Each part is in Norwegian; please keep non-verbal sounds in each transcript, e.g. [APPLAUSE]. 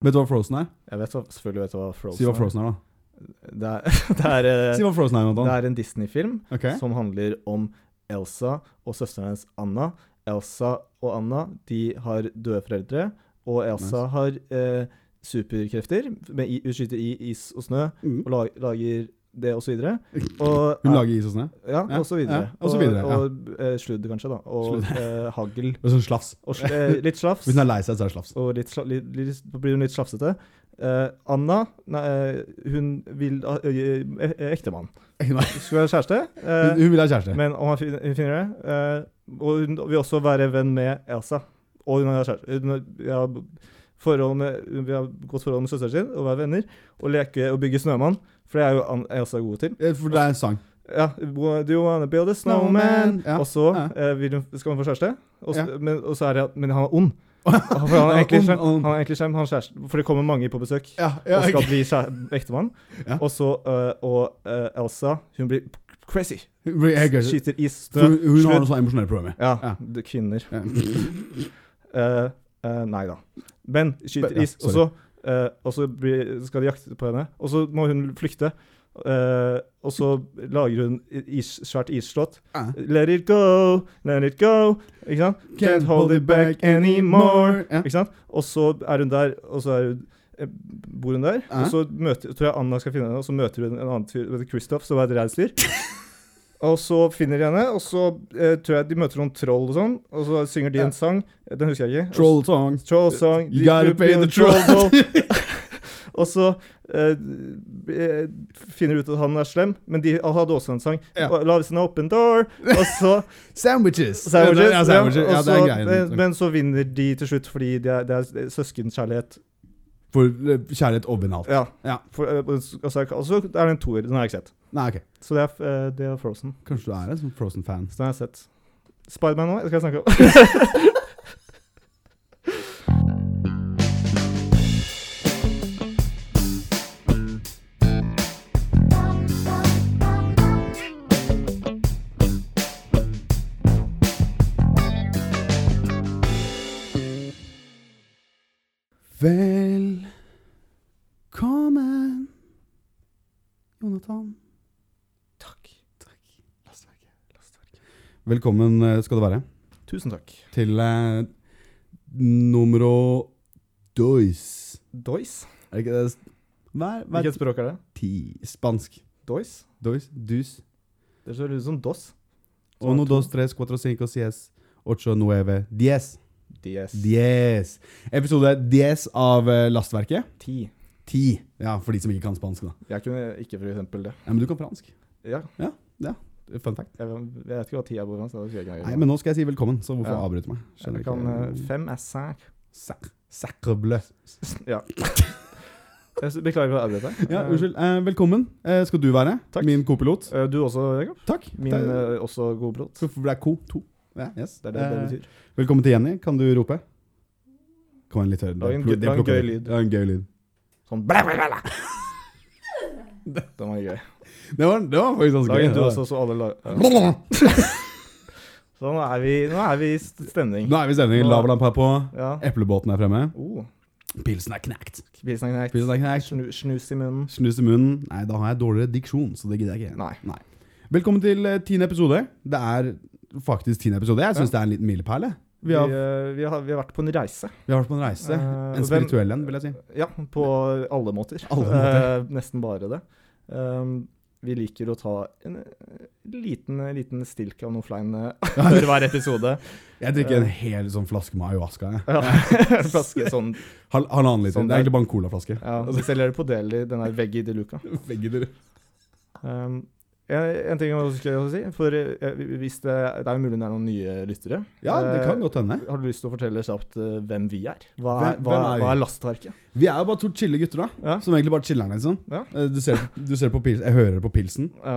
Vet du hva Frozen er? Jeg vet hva- selvfølgelig vet jeg hva Frozen, Si hva Frozen er, da. er. [LAUGHS] Det er, det er, eh, Si hva Frozen er, det Nathan. er en Disney-film Ok. som handler om Elsa og søsteren hennes Anna. Elsa og Anna de har døde foreldre, og Elsa har eh, superkrefter. Med, i- hun skyter i is og snø Mm. og lag, lager det og så videre. Og, Hun lager is og snø. ja, og så videre. ja, og så videre, ja. og, eh, sludd, kanskje, da. Og eh, hagl. Det er sånn slafs. [LAUGHS] Og sl eh, litt slafs. Hvis hun er lei seg, så er det [LAUGHS] slafs. og litt, sla- litt, litt, da blir hun litt slafsete. Eh, Anna nei, eh, hun vil ha eh, eh, ektemann. Nei. Skulle være kjæreste, Hun, eh, hun vil ha kjæreste. men om han fin- hun finner det eh, Og hun vil også være venn med Elsa. Og hun har kjæreste. Hun har- vi har forhold med, hun vil ha godt forhold med søsteren sin og være venner. Og leke og bygge snømann, for det er jo An- Elsa god til. Eh, For det er en sang. Ja, Do you wanna build a Snowman, snowman? ja, Og så ja. eh, vil hun, skal hun få kjæreste, og så, Ja. men, og så er det at Men han [LAUGHS] er ond. For han er egentlig slem. Om- om- Han er egentlig slem, han er kjæresten, for det kommer mange på besøk Ja, ja, og skal ok. bli kjæ- ektemann. Ja. Og så øh, Og øh, Elsa, hun blir crazy. Hun blir- jeg- jeg- Skyter is, For Hun, snø, hun har noe sludd. sånn emosjonelle problemer. Ja, Ja. d- kvinner. [LAUGHS] Ja. Eh, eh, nei da. Men skyter Men- ja, is, og så, sorry. eh, og så blir, skal de jakte på henne. Og så må hun flykte. Eh, og så lager hun is, svært isslott. Ja. Let it go, let it go. Ikke sant? Can't hold it back anymore. Ja. Ikke sant? Og så er hun der, og så er hun, eh, bor hun der. Ja. Og så møter, tror jeg Anna skal finne henne, og så møter hun en annen fyr, som heter Kristoff, som er et reinsdyr. Og så finner de henne, og så eh, tror jeg de møter noen troll og sånn. Og så synger de Ja. en sang, eh, den husker jeg ikke. Troll song. Troll song. You gotta pay the troll doll. [LAUGHS] [LAUGHS] og så eh, eh, finner de ut at han er slem, men de hadde også en sang. Ja. Loves an open door. Og så Sandwiches. Sandwiches, [LAUGHS] Ja, sandwiches. ja, ja og det er så- greien. liksom. Men, men så vinner de til slutt fordi det er, det er søskenkjærlighet. For eh, kjærlighet og benalt. Ja. Ja. For, eh, og så- og så- og så er det en toer. Den har jeg ikke sett. Nei, ok. Så det er, eh, det er Frozen. Kanskje du er en sånn Frozen-fan. Så den har jeg sett. Spiderman nå, skal jeg [LAUGHS] snakke om. Velkommen, Jonathan. Takk. Velkommen eh, skal du være Tusen takk. til eh, numero dois. Dois. Er det ikke det? Hver, hver Hvilket språk er det? ti. Spansk. Dois? Dois, dus. Det ser ut som dos. Uno, dos, tres, cuatro, cinco, sies, ocho, nueve, diez. Dies. Diez. Episode diez av eh, Lastverket. Ti. Ti. Ja, for de som ikke kan spansk, da. Jeg kunne ikke for eksempel det. Ja, men du kan fransk. Ja. Fun fact. Jeg, jeg vet ikke hva ti er på fransk. da skulle jeg ikke Nei, gjøre. men nå skal jeg si velkommen, så hvorfor Ja. avbryte meg? Jeg kan eh, fem er cinq. Sac- Sacre [LAUGHS] bleu. Ja. Jeg s- Beklager for å avbryte deg. Ja, Eh, unnskyld. Eh, velkommen eh, skal du være. Takk. Min kopilot. Eh, Du også, Jakob. Takk. Min det, er- eh, også gode pilot. så får det er ko. To. Ja, yes. Det er det det Eh, betyr. Velkommen til Jenny. Kan du rope? Kom igjen, litt høyere. Lag en Pl- gøy- det lag en plukker gøy vi. lyd. Ja, en gøy lyd. Sånn bla, bla, bla, bla. Den var gøy. [LAUGHS] Det var, det var faktisk ganske Dagen du det var- også, så alle lag... ja. Nå Så nå er vi, nå er vi i st- stemning. er vi i stemning. Nå- Lavlamp her på. Ja. Eplebåten er fremme. Oh, Pilsen er knekt. Pilsen er knekt. Pilsen er knekt. Snu, snus i munnen. Snus i munnen. Nei, da har jeg dårligere diksjon, så det gidder jeg ikke. Nei. Velkommen til eh, tiende episode. Det er faktisk tiende episode. Jeg syns det er en liten milepæl. jeg. Vi Vi har, har, vi, eh, har, vi har vært på en reise. vi har vært på en reise. Eh, en hvem- spirituell en, vil [LAUGHS] jeg si. Ja, på alle måter. Alle måter. [LAUGHS] Eh, nesten bare det. Um, vi liker å ta en eh, liten, liten stilk av noe flein eh, [LAUGHS] før hver episode. Jeg drikker en hel sånn flaske med ayahuasca. Jeg. [LAUGHS] Ja. En flaske [LAUGHS] sånn. Hal Halvannen liter. Sånn det er der. egentlig bare en colaflaske. Ja, vi selger det på Deli, den er veggie de luca. [LAUGHS] Begge dere. Um, en, en ting jeg også skal jeg også si, for eh, hvis det, det er jo mulig det er noen nye lyttere. Ja, det kan godt hende. Eh, Har du lyst til å fortelle kjapt eh, hvem vi er? Hva er, Hvem- hva, hvem er vi? hva er lastverket? Vi er jo bare to chille gutter, da. Ja. Som egentlig bare chiller'n, liksom. Ja. Eh, Du ser, du ser på pils Jeg hører på pilsen. Ja,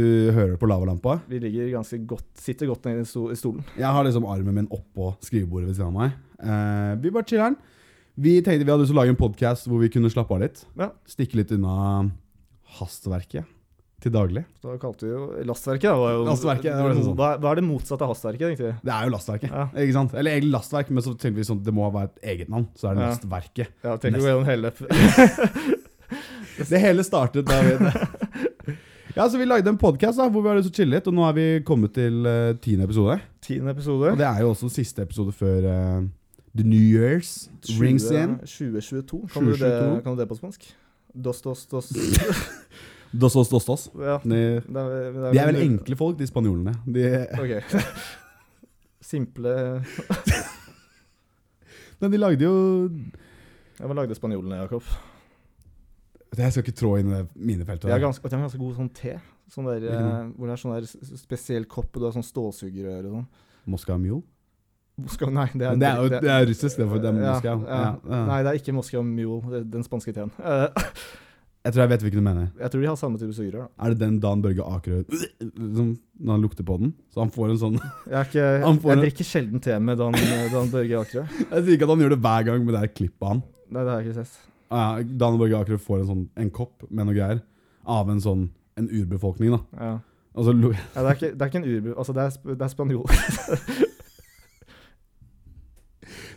Du hører på lavalampa. vi ligger ganske godt, sitter godt nede i sto- i stolen. Jeg har liksom armen min oppå skrivebordet ved siden av meg. Eh, vi bare chiller'n. Vi tenkte vi hadde lyst til å lage en podkast hvor vi kunne slappe av litt. Ja. Stikke litt unna hastverket. til daglig. Da kalte vi jo Lastverket. Da, var jo, Lastverket, det var det sånn. Hva er- hva er det motsatte av hastverket, egentlig? Det er jo lastverket. Ja. Ikke sant? Eller egentlig lastverk, men så tenker vi sånn, det må være et eget navn. Så er det Ja. lastverket. Ja, tenk å gå gjennom hele [LAUGHS] Det hele startet da vi [LAUGHS] Ja, så vi lagde en podkast hvor vi har lyst til å chille litt, og nå er vi kommet til eh, tiende episode. tiende Og episode. det er jo også siste episode før eh, The New Year's rings in. 2022. Kan du, det, 2022. kan du det på spansk? Dos, dos, [LAUGHS] dos. Dos, dos, dos, dos. Ja. De, Det er, det de er vel enkle folk, de spanjolene. De, Ok. [LAUGHS] Simple men de lagde jo Jeg bare lagde spanjolene, Jakob. Jeg skal ikke trå inn i det minefeltet. De er der. ganske, de er ganske gode sånn te. Sånn der, eh, Hvilken hvor det er sånn der s- s- spesiell kopp, og du har sånn stålsugerør og sånn. Moskva Mule. Moskva, nei, det er, Men Det er jo det er russisk, det er for det er Ja, Moskva. Ja, ja. ja. Nei, det er ikke Moskva Mule, det er den spanske teen. Eh, Jeg tror jeg vet hvilken du mener. jeg tror de har samme type sugerør. da. Er det den Dan Børge Akerø liksom, Når han lukter på den? Så han får en sånn [LAUGHS] Jeg, er Han får ikke, jeg en- drikker sjelden te med Dan, eh, Dan Børge Akerø. Jeg sier ikke at han gjør det hver gang, men det er et klipp av han. Nei, det har jeg ikke sett. Ah, ja, Dan Børge Akerø får en sånn En kopp med noe greier av en sånn En urbefolkning, da. Ja. Og så lo [LAUGHS] Ja, det, er ikke, det er ikke en urbu... Altså, det er, sp- det er spanjol.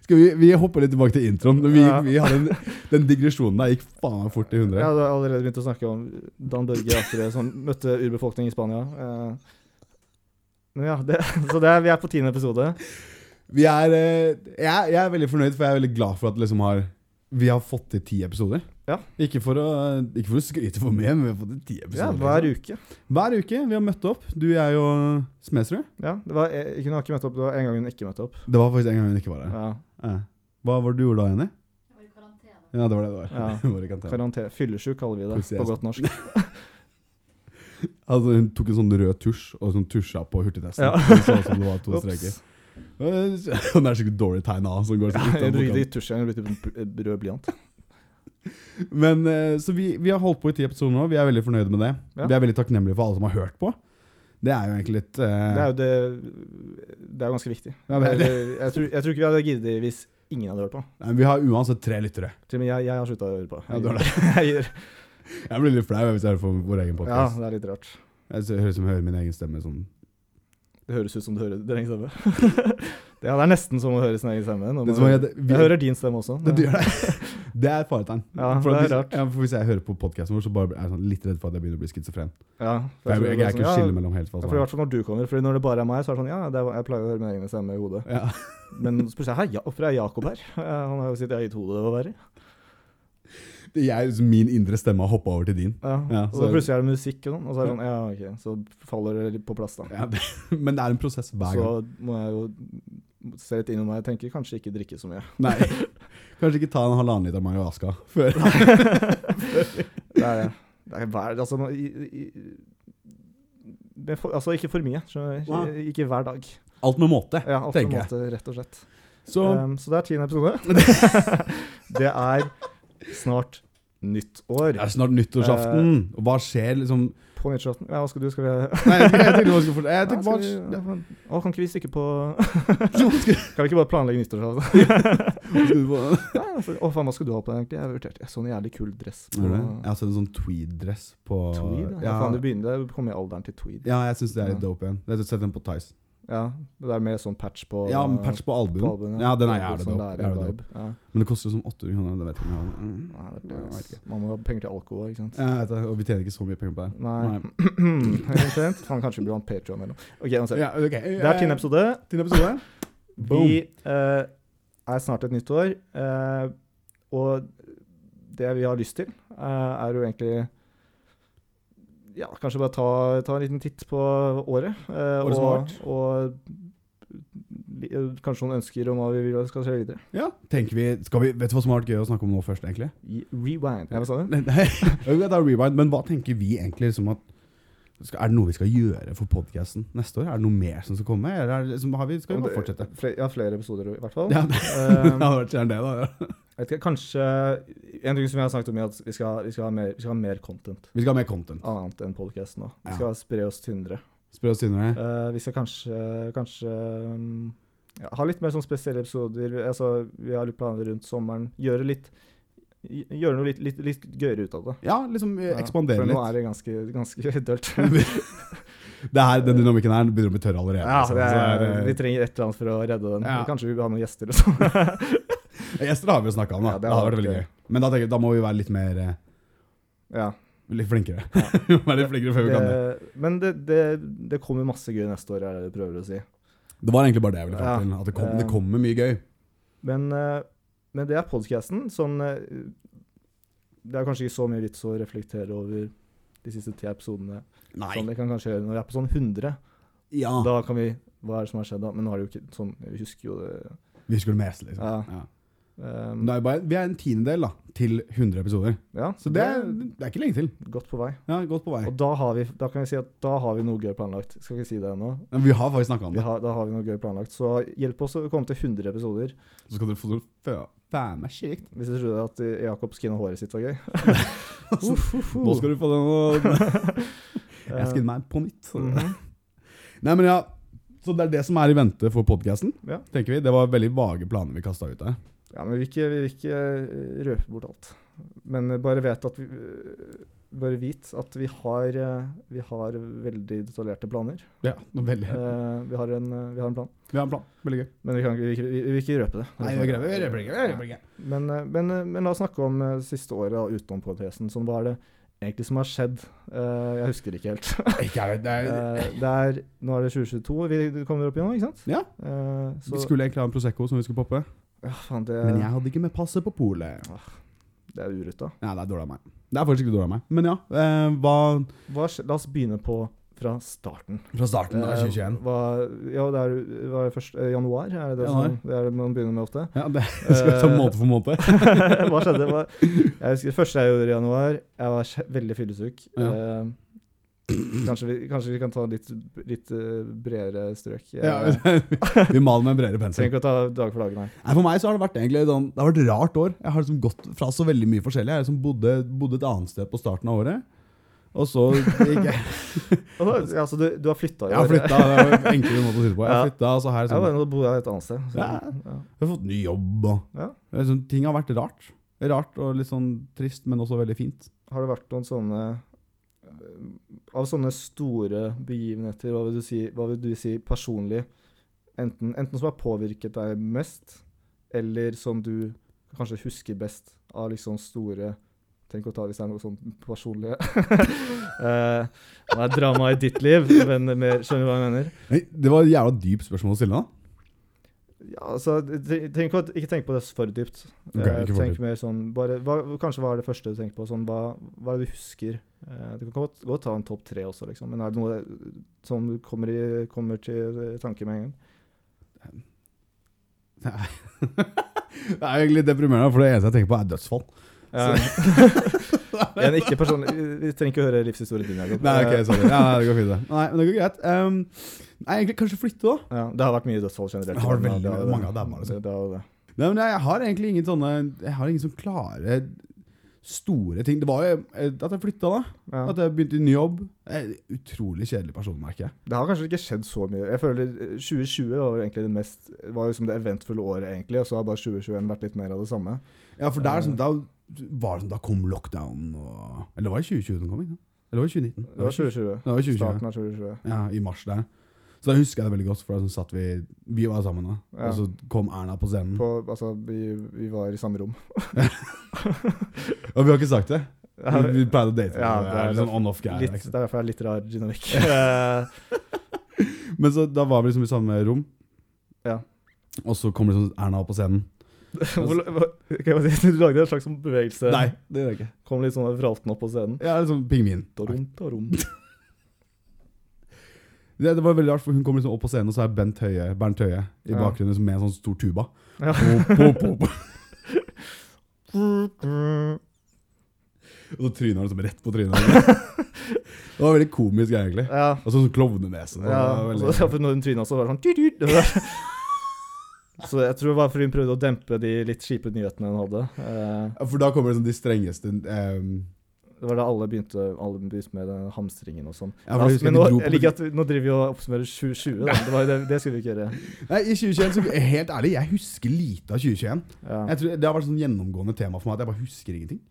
Skal vi, vi hopper litt tilbake til introen. Vi, Ja. vi har den, den digresjonen der gikk faen meg fort i Jeg hundre. hadde allerede begynt å snakke om Dan Børge Akerø som møtte urbefolkning i Spania. Eh, Men ja, det, [LAUGHS] så det er, vi er på tiende episode. Vi er, eh, jeg, jeg er veldig fornøyd, for jeg er veldig glad for at liksom har, vi har fått til ti episoder. Ja. Ikke, for å, ikke for å skryte for mye, men vi har fått til ti Ja, episoder. hver liksom. uke. hver uke. Vi har møtt opp, du, jeg og Smedsrud. Ja, det var, jeg, hun har ikke møtt opp, det var en gang hun ikke møtte opp. Det var faktisk en gang hun ikke var her. Ja, Eh, Hva var det du gjorde da, Jenny? Ja, det var det det var. [LAUGHS] Ja. Hun var i karantene. karantene. Fyllesyk kaller vi det Pussy på ass. godt norsk. Altså, hun tok en sånn rød tusj og sånn tusja på hurtigtesten. Ja. Hun så ut som [LAUGHS] det var to streker. Ops. Eh, [LAUGHS] Hun er sikkert dårlig tegna. Som går sånn [LAUGHS] Jeg utenpå driter i kanten. tusjen, jeg blir typ en bl- rød blyant. Men eh, Så vi, vi har holdt på i ti episoder nå. Vi er veldig fornøyde med det. Ja. Vi er veldig takknemlige for alle som har hørt på. Det er jo egentlig litt eh, Det er jo det Det er jo ganske viktig. Ja, det er jeg, jeg, tror, jeg tror ikke vi hadde giddet hvis ingen hadde hørt på. Nei, Vi har uansett tre lyttere. Til og med jeg, jeg har slutta å høre på. Ja, du har det. [LAUGHS] Jeg gir- Jeg blir litt flau hvis jeg hører på vår egen ja, podkast. det er litt rart. Jeg hører som jeg hører min egen stemme sånn Det høres ut som du hører din egen stemme. [LAUGHS] det, ja, det er nesten som å høre sin egen stemme. når Det man- som er- det- vi- jeg hører din stemme også. Det, det, [LAUGHS] det er faretegn. Ja, for, at det er hvis- rart. Ja, for Hvis jeg hører på podkasten vår, så bare er jeg sånn litt redd for at jeg begynner å bli schizofren. Ja, For Jeg, jeg, jeg, jeg kan ja, skille mellom helt hva som sånn- ja, for I er. hvert fall når du kommer. For når det bare er meg, så er det sånn Ja, det er, jeg pleier å høre min egen stemme i hodet. Ja. Men så plutselig Hei, ja, hvorfor er Jakob her? Eh, Han har jo sitt eget hode å være i. Jeg, min indre stemme har hoppa over til din. Ja. Ja, og så- så plutselig er det musikk og sånn, og så er det sånn Ja, ok. Så faller det litt på plass, da. Ja, det, [LAUGHS] men det er en prosess hver gang. så må jeg jo se litt innom meg og tenke kanskje ikke drikke [LAUGHS] så mye. Nei. Kanskje ikke ta en halvannen liter majoaska før Det er det. Det er hver Altså, man- i, i, men for, altså ikke for mye. skjønner du? Nei. Ikke, ikke hver dag. Alt med måte. Ja, alt på en Tenker jeg. måte, rett og slett. Så Ehm, så det er tiende [LAUGHS] episode. [LAUGHS] det er snart nytt år. det er snart nyttårsaften. Og hva skjer liksom På nyttårsaften. Ja, hva skal du? Skal vi [LAUGHS] Nei, jeg tenkte hva skulle fort- Jeg Ja, tenkte skal hva vi ja, Å, kan ikke vi stikke på hva skal- Kan vi ikke bare planlegge nyttårsaften? [LAUGHS] hva skal du på- Ja, altså, Å, faen, hva skal du ha på deg, egentlig? Jeg vurderte jeg så en jævlig kul dress på Er det? Jeg har sett en sånn tweed-dress på tweed. Ja. Ja, Faen, du begynner du kommer i alderen til tweed. ja jeg syns det er litt dope igjen. Jeg har sett den på Tice. Ja, det er med sånn patch på Ja, med patch på på albuen. albuen, Ja, den er jævlig Sånn dope. Jævlig dope. lærervibe. Ja. Men det koster jo sånn 800 kroner. Det vet jeg ikke om jeg har. Mm. Nei, det Ja, er jeg vet ikke. Man må ha penger til alkohol, ikke sant? Ja, jeg vet det, og vi tjener ikke så mye penger på det. Nei. [CLEARS THROAT] Nei. Omtrent. Faen, kanskje vi blir en Patreon eller noe. Ok, uansett. Ja, ok. Det er tiende episode. Tiende episode. Boom. Vi eh, er snart et nytt år. eh, og det vi har lyst til, eh, er jo egentlig ja, kanskje bare ta, ta en liten titt på året. eh, Året som har og, og li- eh, kanskje noen ønsker om hva vi vil at skal skje videre. Ja, tenker vi, skal vi Vet du hva som har vært gøy å snakke om nå først, egentlig? [LAUGHS] I- Rewind. Ja, hva sa du? Nei, nei, jeg tar rewind, men hva tenker vi egentlig liksom at skal, Er det noe vi skal gjøre for podkasten neste år? Er det noe mer som skal komme? Eller er det, liksom, har vi, skal vi bare fortsette? Fle- ja, flere episoder i hvert [LAUGHS] fall. Ja, det Eh, hadde vært gjerne det, da. Ja. jeg vet ikke, kanskje En ting som jeg har snakket om, er at vi skal, vi skal, ha, mer, vi skal ha mer content. Vi skal ha mer content. Annet enn podcast nå. Vi Ja. skal spre oss tynnere. Spør oss senere. Eh, vi skal kanskje, kanskje mm, ja, ha litt mer sånn spesielle episoder. Altså, vi har litt planer rundt sommeren. Gjøre litt gjøre noe litt, litt, litt gøyere ut av det. Ja, liksom eh, ekspandere For nå litt. er det ganske, ganske [LAUGHS] dølt. Det her, den dynamikken her begynner å bli tørr allerede. Ja, liksom. det Så er, det er, vi trenger et eller annet for å redde den. Ja. Kanskje vi vil ha noen gjester og sånn. [LAUGHS] eh, Gjester har vi jo snakka om, da. Ja, det det, har har vært vært veldig gøy. Men da, tenker, jeg, da må vi være litt mer eh, ja. Litt flinkere. [LAUGHS] Vi må være litt flinkere før vi kan det. det, men det, det, det kommer masse gøy neste år, er det du prøver å si. Det var egentlig bare det jeg ville Ja. fram til. At det, kom, Eh. det kommer mye gøy. Men, eh, men det er podcasten. Sånn, eh, det er kanskje ikke så mye vits å reflektere over de siste ti episodene. Nei. Ah. Sånn, det kan kanskje gjøre når vi er på sånn 100. Ja. Da kan vi Hva er det som har skjedd da? Men nå har det jo ikke sånn Vi husker jo det. Vi skulle meste, liksom. Ja. Ja. eh, Men Det er bare, vi er en tiendedel da, til 100 episoder. ja, Så det er, det er ikke lenge til. godt på vei. Ja, Godt på vei. Og da, har vi, da kan vi si at da har vi noe gøy planlagt. Skal ikke si det ennå. Men vi har faktisk snakka om Vi det. har, da har vi noe gøy planlagt. Så hjelp oss å komme til 100 episoder. Så skal dere få fø- Faen meg [LAUGHS] kjekt. Hvis du trodde at eh, Jakob skinna håret sitt [LAUGHS] var gøy. Nå skal du få den og [LAUGHS] Jeg skal inn meg på nytt. [LAUGHS] Nei, men ja. Så det er det som er i vente for podkasten, Ja. tenker vi. Det var veldig vage planer vi kasta ut der. Ja, men vi vil ikke, vi vil ikke eh, røpe bort alt. Men eh, bare vet at vi eh, bare vit at vi har, eh, vi har veldig detaljerte planer. Ja, noe veldig. Eh, vi, har en, eh, vi har en plan, Vi har en plan. Veldig gøy. men vi, kan, ikke- vi, vi, vi vil ikke røpe det. [LAUGHS] Men, eh, men, eh, men la oss snakke om eh, siste året da, utenom podcasten. Sånn, hva er det egentlig som har skjedd? Eh, jeg husker ikke helt. Ikke jeg vet, det er, Eh, det er, nå er det 2022 vi kommer opp i nå, ikke sant? Ja. Eh, så, Vi skulle egentlig ha en Prosecco som vi skulle poppe, ja, faen, det, men jeg hadde ikke med passet på polet. det er uruta. Nei, det er dårlig av meg. Det er faktisk ikke dårlig av meg. Men ja, eh, hva Hva, skj- la oss begynne på fra starten. Fra starten Eh, Hva, ja, det er, hva er det først? Eh, januar? Er det det, som, Januar. det er det man begynner med ofte? Ja, det [LAUGHS] skal vi ta Eh, måte for måte. [LAUGHS] hva skjedde? Hva, jeg husker det første jeg gjorde i januar, jeg var kje- veldig fyllesyk. Ja. Eh, kanskje, vi, kanskje vi kan ta litt, litt eh, bredere strøk. Jeg, Ja, [LAUGHS] vi maler med en bredere pensel. trenger ikke å ta dag for dag, nei. Nei, for meg så har det vært egentlig sånn, det har vært et rart år. Jeg har liksom gått fra så veldig mye forskjellig. Jeg liksom bodde, bodde et annet sted på starten av året. Og så gikk jeg [LAUGHS] Og da, ja, så du, du har flytta? Jeg har flytta. Det er en enklere måte å si det på. Jeg har Ja. flyttet, og så her Ja, sånn, men nå bor jeg et annet sted. Så, Ja. ja. Jeg har fått ny jobb og Ja. Det er sånn, Ting har vært rart. Rart og litt sånn trist, men også veldig fint. Har det vært noen sånne eh, Av sånne store begivenheter, hva vil du si, hva vil du si personlig? Enten, enten som har påvirket deg mest, eller som du kanskje husker best av liksom store Tenk å ta hvis det er noe sånn personlig [LAUGHS] Eh, Det er drama i ditt liv, men mer, skjønner du hva jeg mener? Nei, Det var et jævla dypt spørsmål å stille, da. Ja, altså, tre- trenger ikke, å- ikke tenk på det for dypt. Ok, Eh, ikke for tenk dypt. mer sånn bare, hva, Kanskje hva er det første du tenker på? Sånn, hva, hva er det du husker? Eh, du kan godt, godt ta en topp tre også, liksom, men er det noe som du kommer, i, kommer til eh, tanke med en gang? Det er jo egentlig deprimerende, for det eneste jeg tenker på, er dødsfall. [LAUGHS] en ikke personlig Vi trenger ikke høre livshistorien din. Jakob. Nei, ok, Eh, sorry. Ja, nei, det går fint, det. Nei, men det går greit. Um, nei, egentlig kanskje flytte, da. ja, det har vært mye dødsfall generelt. Det har vært veldig Ja, mye. Mange av dem, altså. det, det, har det. Nei, men jeg, jeg har egentlig ingen sånne Jeg har ingen sånn klare, store ting. Det var jo eh, at jeg flytta, da. Ja. At jeg begynte i ny jobb. Jeg er en utrolig kjedelig person, merker jeg. det har kanskje ikke skjedd så mye. Jeg føler eh, 2020 var vel egentlig det mest Var liksom det eventfulle året, egentlig, og så har bare 2021 vært litt mer av det samme. Ja, for der, sånn, da var det sånn Da kom lockdown og Eller var det 2020 den kom? Ikke? sant? Eller var det 2019? Det var 2020. Det var 2020. Starten av 2020. Ja, i mars der. Så da husker jeg det veldig godt, for da sånn satt vi Vi var sammen da. Ja. Og så kom Erna på scenen. På, altså, vi, vi var i samme rom. Og vi har ikke sagt det. Vi, vi pleide å date. Ja, det det er er litt sånn on-off-greier. Litt, liksom. det er derfor det er litt rar dynamikk. Eh, Men så da var vi liksom i samme rom. Ja. Og så kommer liksom Erna opp på scenen. [LAUGHS] hvor- hvor- kan jeg bare si, du lagde en slags sånn bevegelse. Nei, det gjør jeg ikke. Kom litt sånn vralten opp på scenen. Jeg er liksom pingvin. Det, Dorum, [LAUGHS] dorum. det var veldig rart, for hun kommer liksom opp på scenen, og så er Bent Høie, Bernt Høie i Ja. bakgrunnen liksom, med en sånn stor tuba. Ja. Pop, pop, pop. Og så tryner han liksom rett på trynet. [LAUGHS] det var veldig komisk, egentlig. Ja. Og så sånn klovnenese. Det ja. var og veldig- Så, ja, for når hun tryna, så var [LAUGHS] det sånn tut, tut. Det var- Så jeg tror det var fordi hun prøvde å dempe de litt kjipe nyhetene hun hadde. Eh, Ja, For da kommer liksom de strengeste eh, Det var da alle begynte, alle begynte med den hamstringen og sånn. Ja, for jeg husker men vi nå, dro på jeg liker at vi, nå driver vi og oppsummerer 2020, da. Det, var jo det, det skulle vi ikke gjøre. Nei, I 2021, så helt ærlig, jeg husker lite av 2021. Ja. Jeg tror, det har vært sånn gjennomgående tema for meg at jeg bare husker ingenting.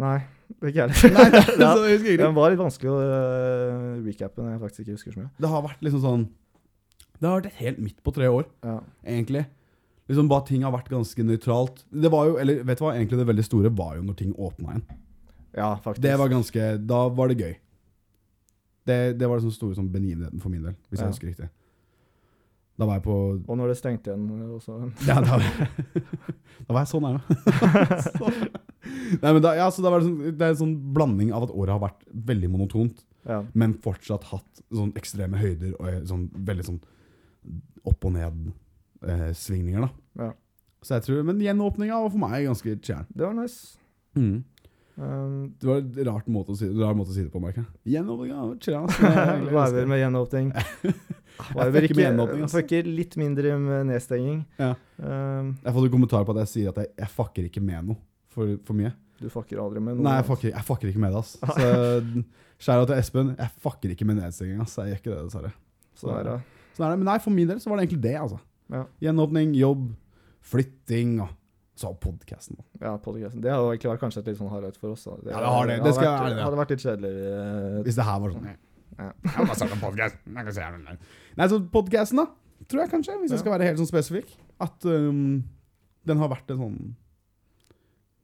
Nei, det er ikke jeg Nei, det, [LAUGHS] Ja. så jeg husker heller. ingenting. Den var litt vanskelig å øh, recappe når jeg faktisk ikke husker så mye. Det har vært liksom sånn Det har vært et helt midt på tre år, Ja. egentlig. Liksom bare Ting har vært ganske nøytralt. Det var jo, eller vet du hva, egentlig det veldig store var jo når ting åpna igjen. ja, faktisk. Det var ganske, Da var det gøy. Det, det var den sånn store sånn begivenheten for min del, hvis Ja. jeg husker riktig. Da var jeg på [LAUGHS] Og når det stengte igjen øh, også. ja, da, [LAUGHS] da var jeg så nærme. [LAUGHS] så. Nei, men da, ja, så da var det, sånn, det er en sånn blanding av at året har vært veldig monotont, Ja. men fortsatt hatt sånn ekstreme høyder og eh, sånn, veldig sånn opp og ned-svingninger. da. Ja. Så jeg tror, Men gjenåpninga var for meg ganske tjern. Det var nice. [LAUGHS] Um, Det var en rart måte å si, rar måte å si det på, merker jeg. Gjenåpninga var [LAUGHS] tjern. ass. Jeg Hva er det elsker det. med gjenåpning? [LAUGHS] Hva er fucker det med gjenåpning, ikke, ass. fucker litt mindre med nedstenging. Ja. Um, Jeg har fått en kommentar på at jeg sier at jeg, jeg fucker ikke med noe for, for mye. du fucker aldri med noe. Nei, jeg fucker, jeg fucker ikke med det, ass. Så [LAUGHS] skjæra til Espen. Jeg fucker ikke med nedstenging, ass. Jeg gjør ikke det, dessverre. Sånn er det. Sånn er det. Men nei, for min del så var det egentlig det, altså. Ja. Gjenåpning, jobb, flytting og så podkasten. Ja, podcasten. Det har jo egentlig vært kanskje et litt sånn highlight for oss. Da. Ja, det har det. Det skal jeg være vært, ærlig, ja. hadde vært litt kjedelig. eh, Hvis det her var sånn Jeg Ja. har bare starta podkast. Nei, så podkasten, da. Tror jeg kanskje, hvis jeg skal være helt sånn spesifikk. At um, den har vært en sånn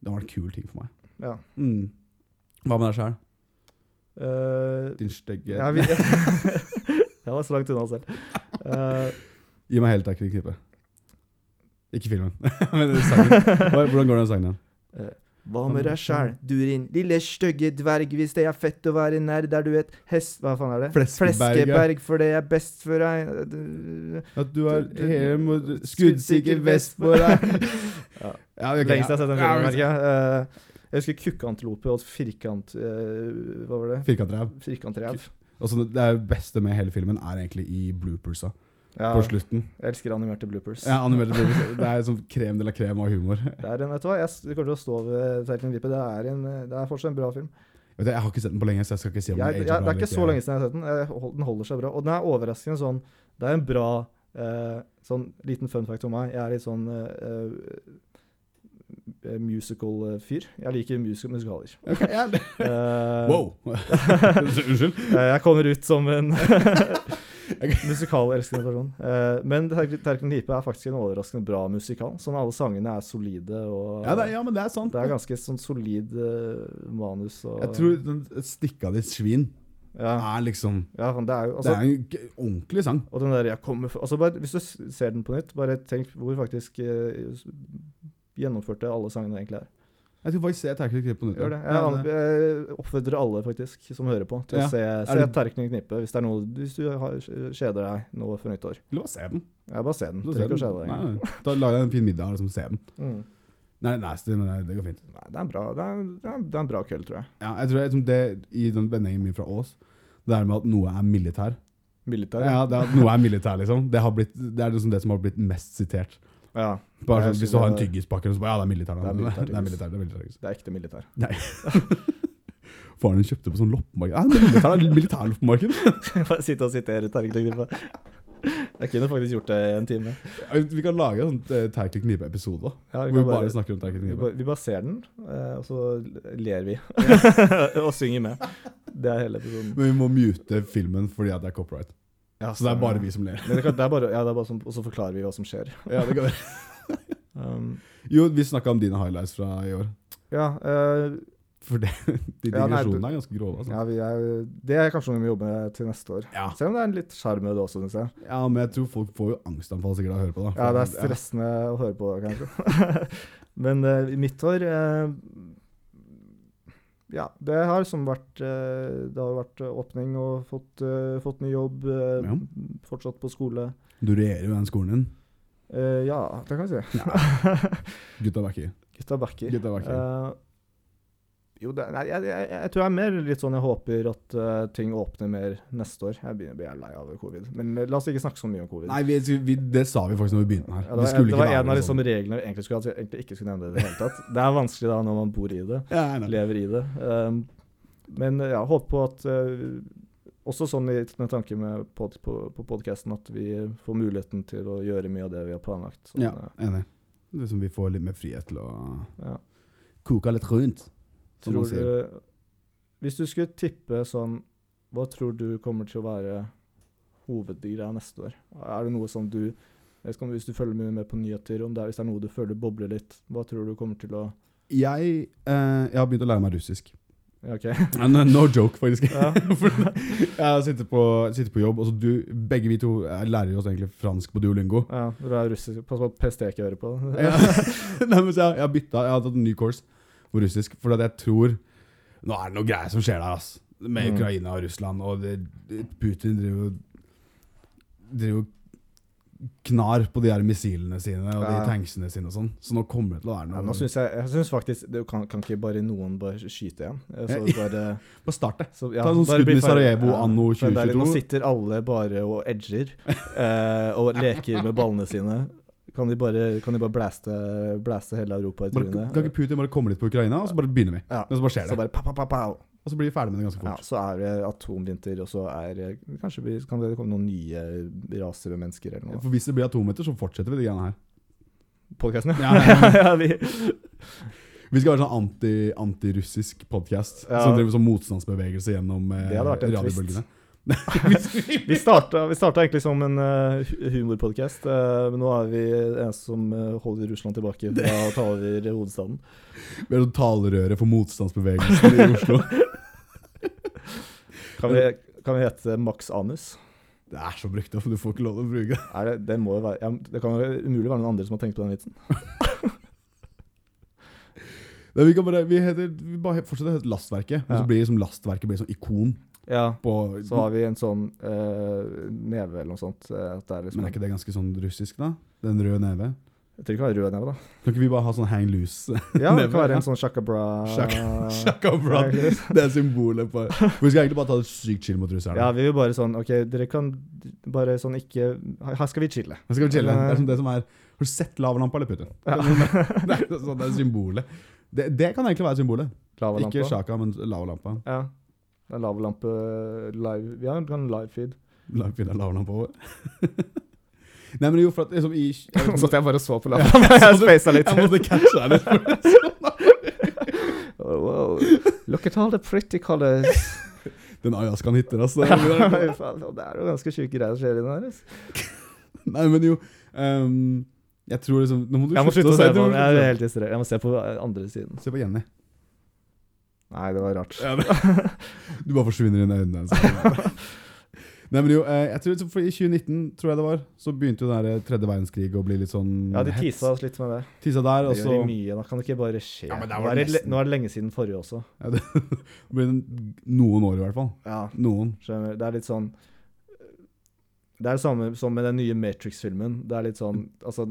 Det var en kul ting for meg. Ja. Mm. Hva med deg sjæl? Eh, Din stygge jeg, vil- [LAUGHS] [LAUGHS] jeg var så langt unna selv. Eh, Gi meg hele taket, knippe. Ikke filmen, [LAUGHS] men sangen. Hva- Hvordan går den sangen igjen? Eh, hva med deg sjæl, du din lille stygge dverg, hvis det er fett å være nerd, der du et hest Hva faen er det? Fleskeberg, ja. Fleskeberg, for det er best for deg At du har hele mot- skuddsikker vest på [LAUGHS] deg. Ja. [LAUGHS] Ja, ok, Lengst jeg har sett den ja, filmen, men- merker jeg. Eh, jeg husker kukkantilope og firkant... eh, hva var det? Firkantrev. Firkantrev. Og så det det beste med hele filmen er egentlig i bloopersa Ja, på slutten. jeg elsker animerte bloopers. Ja, animerte bloopers. Det er sånn krem de la krem av humor. Det er en, vet du hva, jeg s- kommer til å stå ved Terkelen Vippe. Det er, en, eh, det er fortsatt en bra film. Vet du, jeg har ikke sett den på lenge, så jeg skal ikke si om Jeg, den jeg, det er ikke så lenge siden jeg har sett den. Jeg, hold- den holder seg bra. Og den er overraskende sånn Det er en bra eh, sånn liten fun fact om meg. Jeg er litt sånn eh, musical-fyr. Jeg liker music musikaler. Ok, ja, [LAUGHS] det- [LAUGHS] Eh, [LAUGHS] Wow! Unnskyld. eh, jeg kommer ut som [LAUGHS] en [LAUGHS] musikalelskende person. Eh, men Terk- Terkelen Vippe er faktisk en overraskende bra musikal. Sånn alle sangene er solide og Ja, det, er- ja, men det er sant. Det er ganske sånn solid eh, manus og Jeg tror den stikka ditt svin Ja, er liksom ja faen, det er Det jo altså, er en g- ordentlig sang. Og den der 'jeg kommer fra altså bare, Hvis du s- ser den på nytt, bare tenk hvor faktisk eh, s- gjennomførte alle sangene egentlig er. Jeg skal faktisk se Terkel Knippe på nytt. Gjør det. Jeg, Ja, an- jeg oppfordrer alle faktisk som hører på, til Ja. å se, Er se det- Terkning Knippe hvis, det er noe, hvis du har, kjeder deg nå for nyttår. Eller bare se den. Ja, bare se den. Du Du ser trenger den. ikke å kjede deg. Nei, nei. Da lager jeg en fin middag og liksom ser den. Mm. Nei, nasty, men det- det går fint. Nei, det er en bra, det er, det er, det er en bra kveld, tror jeg. Ja, jeg tror liksom det i den vendingen min fra Ås, det der med at noe er militær Militær. Ja, det at noe er militær, liksom. Det, har blitt, det er liksom det som har blitt mest sitert. ja. Bare sånn, Jeg synes Hvis du har en det er- tyggispakke, så bare Ja, det er militær. da. Det er militær, det er militær, det er militær. liksom. Det er ekte militær. [LAUGHS] Faren din kjøpte på sånn loppemarked. Ja, det er militær, det er [LAUGHS] militærloppemarked! Bare sitte og sitere Terkning Knippe. Jeg kunne faktisk gjort det i en time. Vi kan lage en sånn Terkelig knipe-episode, da. Ja, Hvor vi vi kan bare bare snakker om Terkelig Vi, knipe. ba- vi bare ser den, eh, og så ler vi. [LAUGHS] og synger med. Det er hele episoden. Men vi må mute filmen fordi at det er copyright. Så det er bare vi som ler. Men det, kan, det er bare, ja, det er bare sånn, og så forklarer vi hva som skjer. Ja, det kan det. Um, Jo, vi snakka om dine highlights fra i år. ja, eh, For det, [LAUGHS] de Ja, nei, digresjonene er ganske grove. Altså. ja vi er, det er kanskje noe vi jobber med til neste år. Ja. Selv om det er en litt sjarm med det også, syns jeg. ja, men jeg tror folk får jo angstanfall sikkert av å høre på. da. Ja, det er stressende å høre på, kanskje. [LAUGHS] Men eh, i mitt år eh, Ja, det har liksom vært eh, Det har vært åpning og fått, eh, fått ny jobb. eh, Ja. Fortsatt på skole. Du regjerer jo den skolen din. Eh, ja, det kan vi si. Gutta backer. [LAUGHS] Gutta backer. Gutta backer. Eh, jo, det, nei, jeg, jeg, jeg tror jeg er mer litt sånn jeg håper at eh, ting åpner mer neste år. Jeg begynner å bli helt lei av covid. Men eh, la oss ikke snakke så mye om covid. Nei, vi, vi, det sa vi faktisk når vi begynte her. Ja, det vi var, skulle det ikke var være en av liksom sånn. reglene vi egentlig skulle hatt, vi egentlig ikke skulle nevne det i det hele tatt. Det er vanskelig da når man bor i det, Ja, jeg er enig. lever i det. Um, Men eh, jeg håper på at eh, Også sånn i med tanke med pod, på, på podkasten at vi får muligheten til å gjøre mye av det vi har planlagt. Sånn, Ja, eh, enig. Liksom vi får litt mer frihet til å ja. koke litt rundt. som man Tror sier. du Hvis du skulle tippe sånn Hva tror du kommer til å være hovedgreia neste år? Er det noe som du jeg vet ikke om Hvis du følger mye med på nyheter, om det er, hvis det er noe du føler bobler litt, hva tror du kommer til å Jeg, eh, jeg har begynt å lære meg [LAUGHS] russisk. Ja, OK. Men, eh, no joke, faktisk. Ja. [LAUGHS] For jeg sitter på, sitter på jobb, og så du, begge vi to eh, lærer jo oss egentlig fransk på Duolingo. Ja, du er russisk. Pass på at PST ikke hører på. Ja. [LAUGHS] Nei, men så jeg, jeg har bytta, jeg har tatt en ny course på russisk, for at jeg tror Nå er det noe greier som skjer der, ass. Med Mm. Ukraina og Russland, og det, Putin driver jo Driver og knar på de her missilene sine og de Ja. tanksene sine og sånn. Så nå kommer det til å være Ja, noe nå synes jeg, jeg synes faktisk Du kan, kan ikke bare noen bare skyte igjen? Eh, Så Ja. bare, Bare start det. så, ja, Ta sånn bare skudd bli med ferdig. Sarajevo anno for det er litt- 2022. Nå sitter alle bare og [LAUGHS] edger eh, og leker med ballene sine. Kan de bare, kan de bare blæste, blæste hele Europa i Bare, trynet? kan ikke Putin bare komme litt på Ukraina, og så bare begynner vi? Ja. Og så bare skjer Så det. bare pa, pa, pa, pow. Og så blir vi ferdig med det ganske Ja, fort. så er det atomvinter, og så er det- Kanskje vi, kan det komme noen nye raser og mennesker eller noe. For hvis det blir atommeter, så fortsetter vi de [LAUGHS] greiene her. [LAUGHS] Podkasten, ja. Ja, ja, ja, vi, Vi skal være sånn anti, antirussisk podkast Ja. som driver sånn motstandsbevegelse gjennom eh, Det hadde vært en radiobølgene. Vi starta, vi starta egentlig som en uh, humorpodkast, eh, men nå er vi eneste som eh, holder Russland tilbake fra å ta over hovedstaden. Vi er sånn talerøre for motstandsbevegelsen i Oslo. [LAUGHS] Kan vi, kan vi hete Max Anus? Det er så brukt opp, du får ikke lov til å bruke det. Er det, det, må jo være, ja, det kan jo umulig være noen andre som har tenkt på den vitsen. Nei, Vi, kan bare, vi, heter, vi bare fortsetter å hete Lastverket, og Ja. så blir liksom Lastverket blir sånn ikon Ja, på Så har vi en sånn eh, neve eller noe sånt. eh, at det er Men liksom, er ikke det ganske sånn russisk, da? Den røde neve? Jeg tror ikke det er rød [LAUGHS] neve, da. Kan ikke vi bare ha sånn hang [LAUGHS] loose? Ja, det Neve, kan være ja. en sånn shakabra [LAUGHS] Shaka- Shakabra. Det er symbolet på For Vi skal egentlig bare ta det sykt chill mot russerne. Ja, vi vil bare sånn OK, dere kan bare sånn ikke Her skal vi [LAUGHS] chille. Nå skal vi chille. Det er som det som er Har du sett lavalampa eller Putin? [LAUGHS] [LAUGHS] Det er, sånn, det er symbolet. Det, det kan egentlig være symbolet. Lavalampa. Ikke sjaka, men lavalampa. Ja. Det er lavalampe live Vi har en [LAUGHS] livefeed. La- Finne lavalampa over. [LAUGHS] Nei, men jo, for at liksom i Jeg, vet Sånn ikke at [LAUGHS] jeg bare så [LAUGHS] på lavalampa. Jeg spasa om- litt. jeg måtte catche deg litt. [LAUGHS] for- [LAUGHS] Oh, wow. Look at all the pretty colors. Den ayaskan hitter, altså. Fy faen, Det er jo ganske sjuke greier som skjer inni der. ass. [LAUGHS] Nei, men jo ehm, Jeg tror liksom Nå må du Jeg må slutte å se du på må den. Jeg er slutte å helt distrahert. Jeg må se på andre siden. se. Se på [LAUGHS] Jenny. Nei, det var rart. Du bare forsvinner inn i øynene [LAUGHS] hennes. Nei, men jo, eh, jeg tror, for I 2019, tror jeg det var, så begynte jo den der tredje verdenskrig å bli litt sånn Ja, de hets. tisa oss litt med det. Tisa der, og Det gjør de så mye. Da kan det ikke bare skje. Ja, men der nå, var er det det, le- nesten- nå er det lenge siden forrige også. ja, det, blir det noen år, i hvert fall. Ja, Noen. skjønner. Det er litt sånn Det er det samme som med den nye Matrix-filmen. Det er litt sånn Altså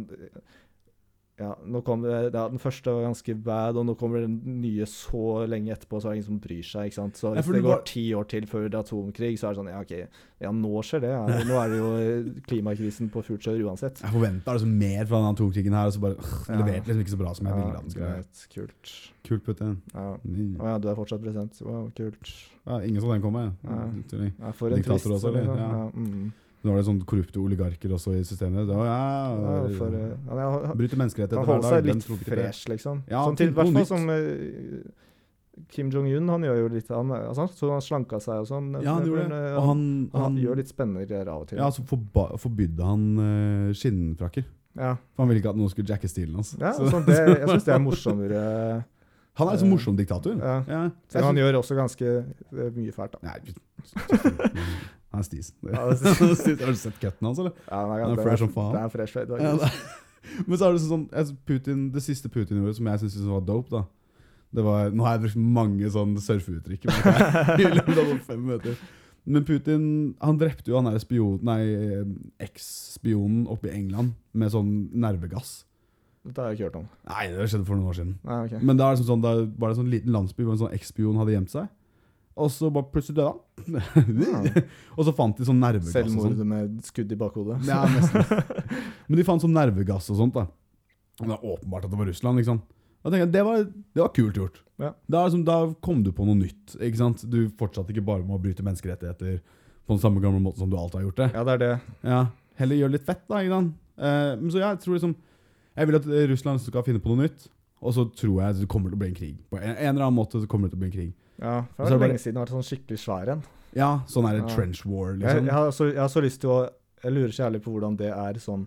ja, nå kom det, ja, Den første var ganske bad, og nå kommer den nye så lenge etterpå, så er det ingen som bryr seg. ikke sant? Så Ja, Hvis for det du går var- ti år til før det er atomkrig, så er det sånn Ja, OK, ja, nå skjer [LAUGHS] det. Ja. Nå er det jo eh, klimakrisen på fullt kjør uansett. Jeg forventa liksom mer fra den atomkrigen her, og så bare øh, Ja. leverte liksom ikke så bra som jeg ville at den skulle være. greit, kult. Kult, Putin. Ja. Mm. Å ja, du er fortsatt president. Wow, kult. Ja, ingen så den komme. Nei. Tulling. Ja, for en Diktator trist også, eller? liksom. Ja. Ja. mm. Nå var det sånne korrupte oligarker også i systemet. Det var, ja, ja, for, eh, ja, han- han- Bryter menneskerettigheter han hver holder seg dag. Den litt tror ikke det. fresh, liksom. Ja, sånn til tenk på hvert noe fall som eh, Kim Jong-un, han gjør jo litt han, eh, altså, han- Så han slanka seg og sånn. Ja, han gjorde men, det. eh, Og han, han, han gjør litt spennende greier av og til. Ja, så forba- forbydde han eh, skinnfrakker. Ja. For han ville ikke at noen skulle jacke stilen hans. Ja, Så- sånn, det, jeg syns [LAUGHS] det er morsommere. han er en sånn morsom diktator. Ja. Ja. Så jeg Selv om han synes- gjør også ganske eh, mye fælt, da. Nei, [LAUGHS] han er stis. Det- Ja, Har det- [LAUGHS] du sett cutten hans, eller? Ja, nei, Han er det fresh som faen. Det er fresh, det er Ja, faktisk. da. [LAUGHS] Men så er det sånn jeg synes Putin, Det siste Putin gjorde som jeg syntes var dope, da det var, Nå har jeg brukt mange sånne surfeuttrykk men jeg- [LAUGHS] i løpet av sånn fem minutter. Men Putin han drepte jo han der spion, nei, eks-spionen oppe i England med sånn nervegass. Dette har jeg ikke hørt om. Nei, det skjedde for noen år siden. Nei, ok. Men da er det sånn, da var det en sånn liten landsby hvor en sånn ekspion hadde gjemt seg. Og så bare plutselig døde han. [LAUGHS] Ja. og så fant de sånn nervegass og sånt. Selvmord med skudd i bakhodet. Ja, [LAUGHS] nesten. Men de fant sånn nervegass og sånt, da. Og det er åpenbart at det var Russland, ikke sant. Da tenker jeg, Det var, det var kult gjort. Ja. Da, er det som- da kom du på noe nytt. ikke sant? Du fortsatte ikke bare med å bryte menneskerettigheter på den samme gamle måten som du alltid har gjort det. Ja, det er det. Ja, Heller gjør litt fett, da. ikke sant? Eh, men så ja, jeg tror liksom Jeg vil at Russland skal finne på noe nytt. Og så tror jeg det kommer til å bli en krig. På en, en eller annen måte så kommer det til å bli en krig. Ja, Og så er for det er det lenge siden det har vært sånn skikkelig svær en. Ja, sånn er det Ja. trench war, Jeg, liksom. jeg, har så, jeg har så lyst til å Jeg lurer så jævlig på hvordan det er sånn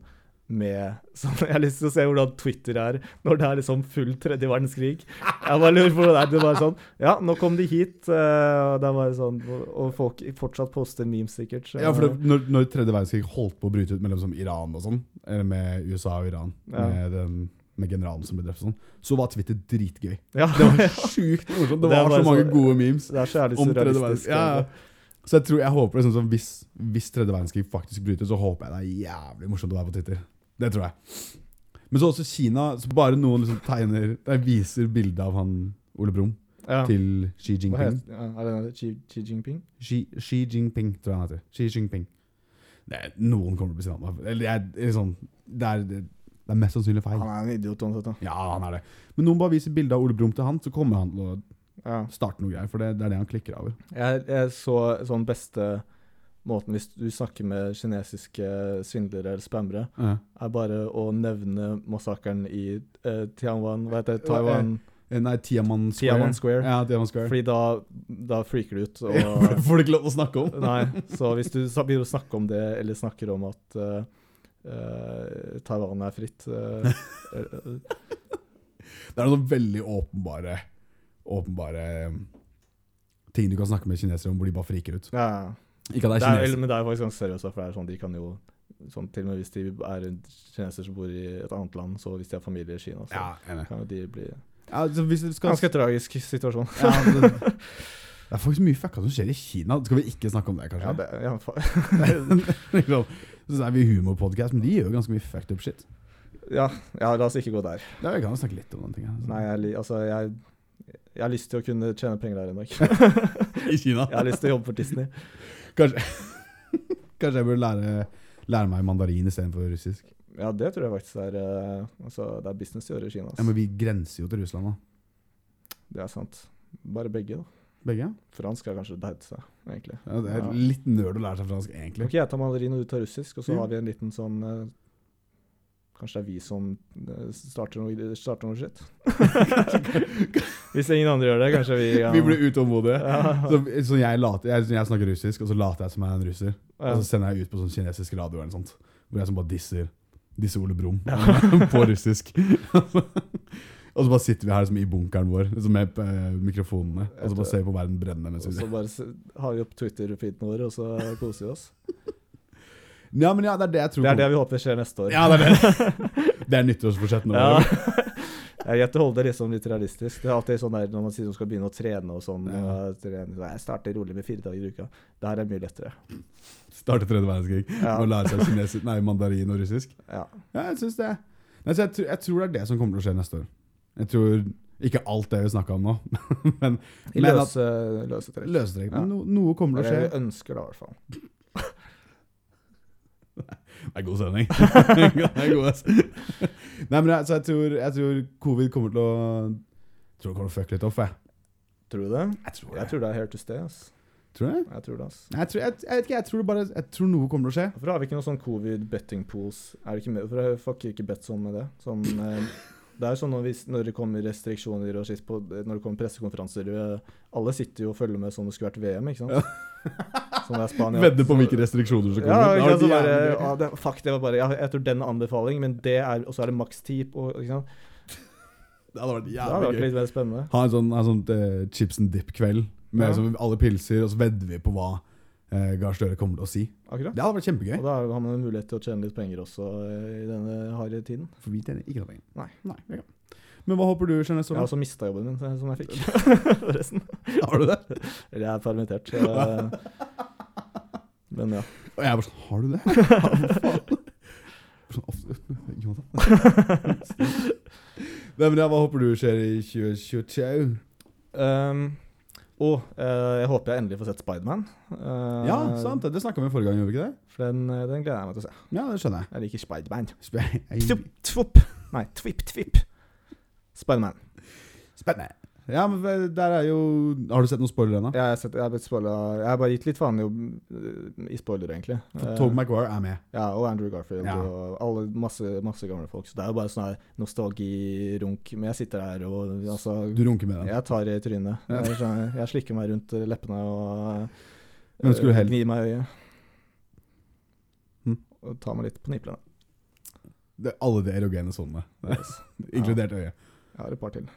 med sånn, [LAUGHS] Jeg har lyst til å se hvordan Twitter er når det er liksom full tredje verdenskrig. Jeg bare lurer på hvordan det er. Det er bare sånn Ja, nå kom de hit. eh, Og det er bare sånn Og folk fortsatt poster memes, sikkert. så- Ja, for det, når, når tredje verdenskrig holdt på å bryte ut mellom som Iran og sånn, eller med USA og Iran, Ja. med, den, med generalen som ble drept og sånn, så var Twitter [LAUGHS] dritgøy. ja. Det var sjukt morsomt. Det Det er var bare så mange så- gode memes Det er så jævlig om tredje verdenskrig. surrealistisk. altså. Ja, ja. det. Så jeg tror, jeg håper liksom, sånn, hvis, hvis tredje verdenskrig faktisk bryter, så håper jeg det er jævlig morsomt å være på Twitter. Det tror jeg. Men så også Kina, så bare noen liksom tegner, nei, viser bildet av han Ole Brumm Ja. til Xi Hva Jinping. heter ja, Er det Xi, Xi Jinping? Xi, Xi Jinping, tror jeg han heter. Xi Jinping. Det er, noen kommer til å bli sinna. Eller jeg, eller sånn, det, er, det, det er mest sannsynlig feil. Han er en idiot uansett, da. Ja, han er det. Men noen bare viser bilde av Ole Brumm til han, så kommer han til å Ja. starte noe greier. For det, det er det han klikker over. Jeg, jeg så sånn beste måten hvis du snakker med kinesiske svindlere eller spammere, Ja. er bare å nevne massakren i eh, Tianwan Hva heter det? Taiwan? Eh, Nei, Tiaman Square. Tianwan Square. Ja, Tiaman Square. Fordi da, da freaker du [LAUGHS] ut. Og, Får du ikke lov til å snakke om? [LAUGHS] nei, så hvis du sa- begynner å snakke om det, eller snakker om at eh, eh, Taiwan er fritt eh, [LAUGHS] eh, Det er noen veldig åpenbare Åpenbare um, ting du kan snakke med kinesere om, hvor de bare friker ut. ja, Ikke at det er det er, kinesere. Men det er faktisk ganske seriøst, for det er sånn, de kan jo sånn, Til og med hvis de er kinesere som bor i et annet land, så hvis de har familie i Kina, så Ja, enig. kan jo de bli Ja, så hvis dere skal Ganske tragisk situasjon. [LAUGHS] Ja, det, det er faktisk mye fucka som skjer i Kina. Skal vi ikke snakke om det, kanskje? Ja, det, ja, fa [LAUGHS] [LAUGHS] Liksom, så er vi humorpodkast, men de gjør jo ganske mye fucked up shit. ja, ja, la oss ikke gå der. Ja, vi kan jo snakke litt om den tingen. Nei, jeg, li- altså, jeg, jeg har lyst til å kunne tjene penger der en dag. [LAUGHS] Jeg I Kina. har lyst til å jobbe for Disney. Kanskje, kanskje jeg burde lære, lære meg mandarin istedenfor russisk. Ja, det tror jeg faktisk er eh, Altså, det er business å gjøre i Kina. Ja, men ass. vi grenser jo til Russland, da. Det er sant. Bare begge, da. Begge? Fransk er kanskje det seg, egentlig. Ja, det er Ja. litt nerd å lære seg fransk, egentlig. Ok, jeg tar mandarin, og du tar russisk, og så Ja. har vi en liten sånn eh, Kanskje det er vi som eh, starter noe, starter noe [LAUGHS] shit? Hvis ingen andre gjør det, kanskje vi ja. Vi blir utålmodige. Ja. Så, så jeg, later, jeg, jeg snakker russisk, og så later jeg som jeg er en russer. Ja. Og så sender jeg ut på sånn kinesisk radio eller noe sånt, hvor jeg som bare disser Disser Ole Brumm [LAUGHS] på russisk. [LAUGHS] og så bare sitter vi her som i bunkeren vår liksom med eh, mikrofonene og så bare ser vi på verden brenne. Mens Og vi så bare s- har vi opp Twitter-feeden vår, og så koser vi oss. [LAUGHS] ja, men ja, det er det jeg tror Det er kommer. det vi håper skjer neste år. Ja, det er [LAUGHS] det. det er nyttårsforsettene Ja. våre. [LAUGHS] Jeg gjetter holde det liksom litt realistisk. Det er alltid sånn der når man sier man skal begynne å trene og sånn. Ja. og trene, så Jeg starter rolig med fire dager i uka. Det her er mye [LAUGHS] lettere. Starte tredje verdenskrig Ja. og lære seg kinesisk, nei, mandarin og russisk. Ja. Ja, jeg synes det. Nei, så jeg, tror- jeg tror det er det som kommer til å skje neste år. Jeg tror ikke alt det vi snakka om nå, [LAUGHS] men, I men at løse, løse trekk. løstrekk. Ja. Men no, noe Det kommer er til å det skje. vi ønsker, da, i hvert fall. Det er god sending. [LAUGHS] det er god, ass. Nei, men jeg, så jeg tror, jeg tror covid kommer til å jeg tror det kommer til å fucke litt off, jeg. Tror du det? Jeg tror Jeg tror det er here to stay. ass. Tror du det? Jeg tror det, ass. Jeg, tror, jeg, jeg vet ikke, jeg tror det bare Jeg tror noe kommer til å skje. Hvorfor har vi ikke noen sånn covid-betting pools? Er det ikke med, hvorfor fucker ikke Betson med det? Sånn, eh, det er sånn når, vi, når det kommer restriksjoner og skitt på Når det kommer pressekonferanser eh, Alle sitter jo og følger med som det skulle vært VM, ikke sant? Sånn det er Spania. [LAUGHS] Vedder på hvilke restriksjoner som Ja, kommer. ikke sant, så Det har vært bare, jævlig gøy. ja, det, fuck, det var bare ja, Jeg tror den er anbefaling, men det er Og så er det maks ti på ikke sant? det hadde vært Det hadde vært jævlig gøy. litt mer spennende. Ha en sånn, ha en sånn eh, chips and dip-kveld med Ja. sånn alle pilser, og så vedder vi på hva eh, Gahr Støre kommer til å si. Akkurat. Det hadde vært kjempegøy. Og da har man en mulighet til å tjene litt penger også eh, i denne harde tiden. For vi tjener ikke noe penger. Nei. vi kan. Men hva håper du skjer neste Jeg har år? også mista jobben min, eh, som jeg [LAUGHS] fikk. Forresten. da? Har du det? Eller jeg er permittert. så, [LAUGHS] eh, Men ja. Og jeg bare sånn Har du [LAUGHS] det? [LAUGHS] Ja, hva faen? Sånn, ofte- [LAUGHS] Jonathan. Nei, men ja, Hva håper du skjer i 2022? Um, og eh, jeg håper jeg endelig får sett Spiderman. Uh, Ja, sant det. Det snakka vi om forrige gang, gjorde vi ikke det? For den, eh, den gleder jeg meg til å se. Ja, det skjønner jeg. Jeg liker Spiderman. Sp- jeg- Tvup, tvup. Nei, tvipp, tvipp. Spiderman. Spennende. Ja, men ve- der er jo Har du sett noen spoilere ennå? Jeg, har sett- jeg, har blitt spoilet- jeg har bare gitt litt faen i, å- i spoiler, egentlig. Eh, Tove Maguire er med. ja, og Andrew Garfield Ja. og alle, masse, masse gamle folk. Så det er jo bare sånn her nostalgirunk. Men jeg sitter her og altså Du runker med den. Jeg tar i trynet. Ja. Jeg, skjønner- jeg slikker meg rundt leppene og eh, Hvem skulle du helst- gnir meg i øyet. Hm? Og tar meg litt på niplene. Det, alle de erogene sonene, Yes. inkludert øyet. Jeg har et par til.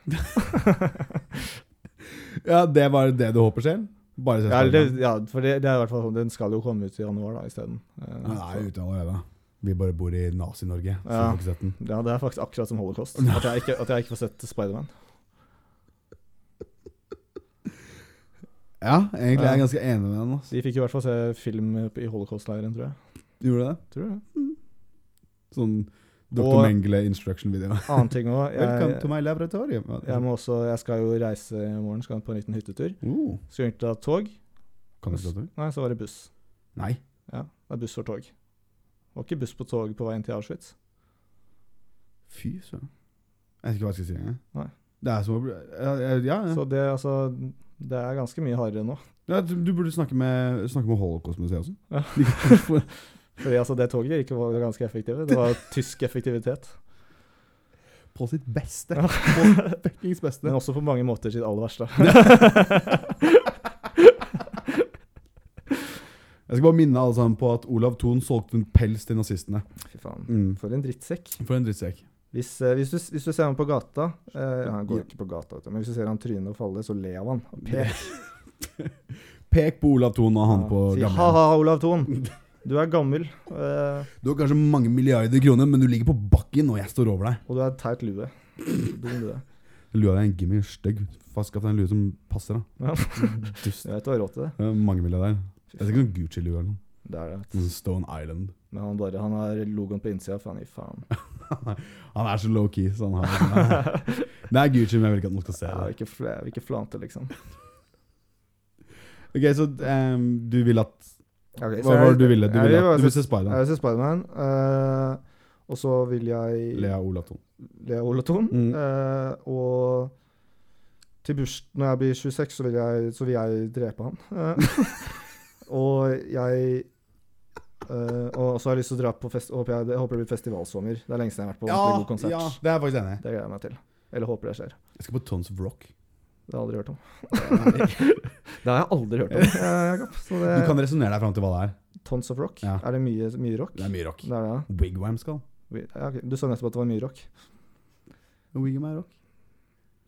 Ja, det var det du håper skjer? Bare se Ja, det, Spider-Man? ja for det, det er i hvert fall sånn. Den skal jo komme ut i januar da, isteden. Eh, Han er så- ute allerede. Vi bare bor i Nazi-Norge, så vi Ja. får ikke sett den. ja, det er faktisk akkurat som Holocaust. At jeg ikke, at jeg ikke får sett Spiderman. Ja, egentlig er Ja. jeg ganske enig med den. Altså. De fikk i hvert fall se film i holocaust-leiren, tror jeg. Gjorde du det? Tror jeg. Sånn Dr. Og- Mengele instruction-video. Annen [LAUGHS] ting òg. Welcome to Jeg, my laboratorium. Ja, jeg, må også- jeg skal jo reise i morgen, skal på en liten hyttetur. Oh, Skulle egentlig ta tog. kan du ikke det? Nei, så var det buss. Nei. Ja, det er buss for tog. Det var ikke buss på tog på veien til Auschwitz. Fy søren. Jeg vet ikke hva jeg skal si engang. Nei. Det er som å bli Ja, ja, ja. Så det, altså, det er ganske mye hardere nå. ja du, du burde snakke med, snakke med Holocaust-museet også. Ja. Fordi altså, det toget gikk var ganske effektive. Det var tysk effektivitet. På sitt beste. Ja. På fuckings beste. Men også på mange måter sitt [LAUGHS] aller verste. Jeg skal bare minne alle sammen på at Olav Thon solgte en pels til nazistene. Fy faen. Mm. For en drittsekk. For en drittsekk. Hvis, eh, hvis, du, hvis du ser ham på gata eh, ja, Han går ikke på gata, vet du, men hvis du ser han tryne og falle, så le av han. Og pek. Pek på Olav Thon og han Ja, på si, gamle. Ha-ha, Olav [LAUGHS] Thon. Du er gammel, eh, Du har kanskje mange milliarder kroner, men du ligger på bakken, og jeg står over deg. og du er et teit lue. Dum lue. Lua di er en gimmi stygg. Fastskaff deg en lue som passer, da. Ja. [LAUGHS] Dust. Jeg vet du har råd til det. Det er Mange milliarder. Det er ikke noen Gucci-lue eller noe. Det er det. Noen sånn Stone Island. [LAUGHS] Men han, bare, han har logoen på innsida, for han gir faen. Han er så low-key, så [LAUGHS] han har Det er Gucci, men jeg vil ikke at noen skal se Ja, det. ikke, fl ikke flante, liksom. Ok, Så ehm, du vil at Okay, Hva var det du ville? Du jeg ville, bare at, du vil se- se Spider-Man. Jeg vil se Spiderman. eh, og så vil jeg Lea Olav Thon. Lea Olaton. Mm. eh, og til burs, når jeg blir 26, så vil jeg, så vil jeg drepe han. [LAUGHS] Eh, og jeg eh, Og så har jeg lyst til å dra på fest håper jeg, jeg håper det blir festivalsommer. Det er lenge siden jeg har vært på en ordentlig god konsert. ja, det er jeg faktisk enig i. Det gleder jeg meg til. Eller håper det skjer. Jeg skal på Tons of [LAUGHS] Rock. Det har jeg aldri hørt om. det har jeg aldri hørt om. eh, Jakob. Så det, Du kan resonnere deg fram til hva det er. Tons of rock? Ja. Er det mye, mye rock? Det er mye rock. Det er det, ja. Wigwam skal. Vi- ja, ok. Du sa nettopp at det var mye rock. Wigwam er rock.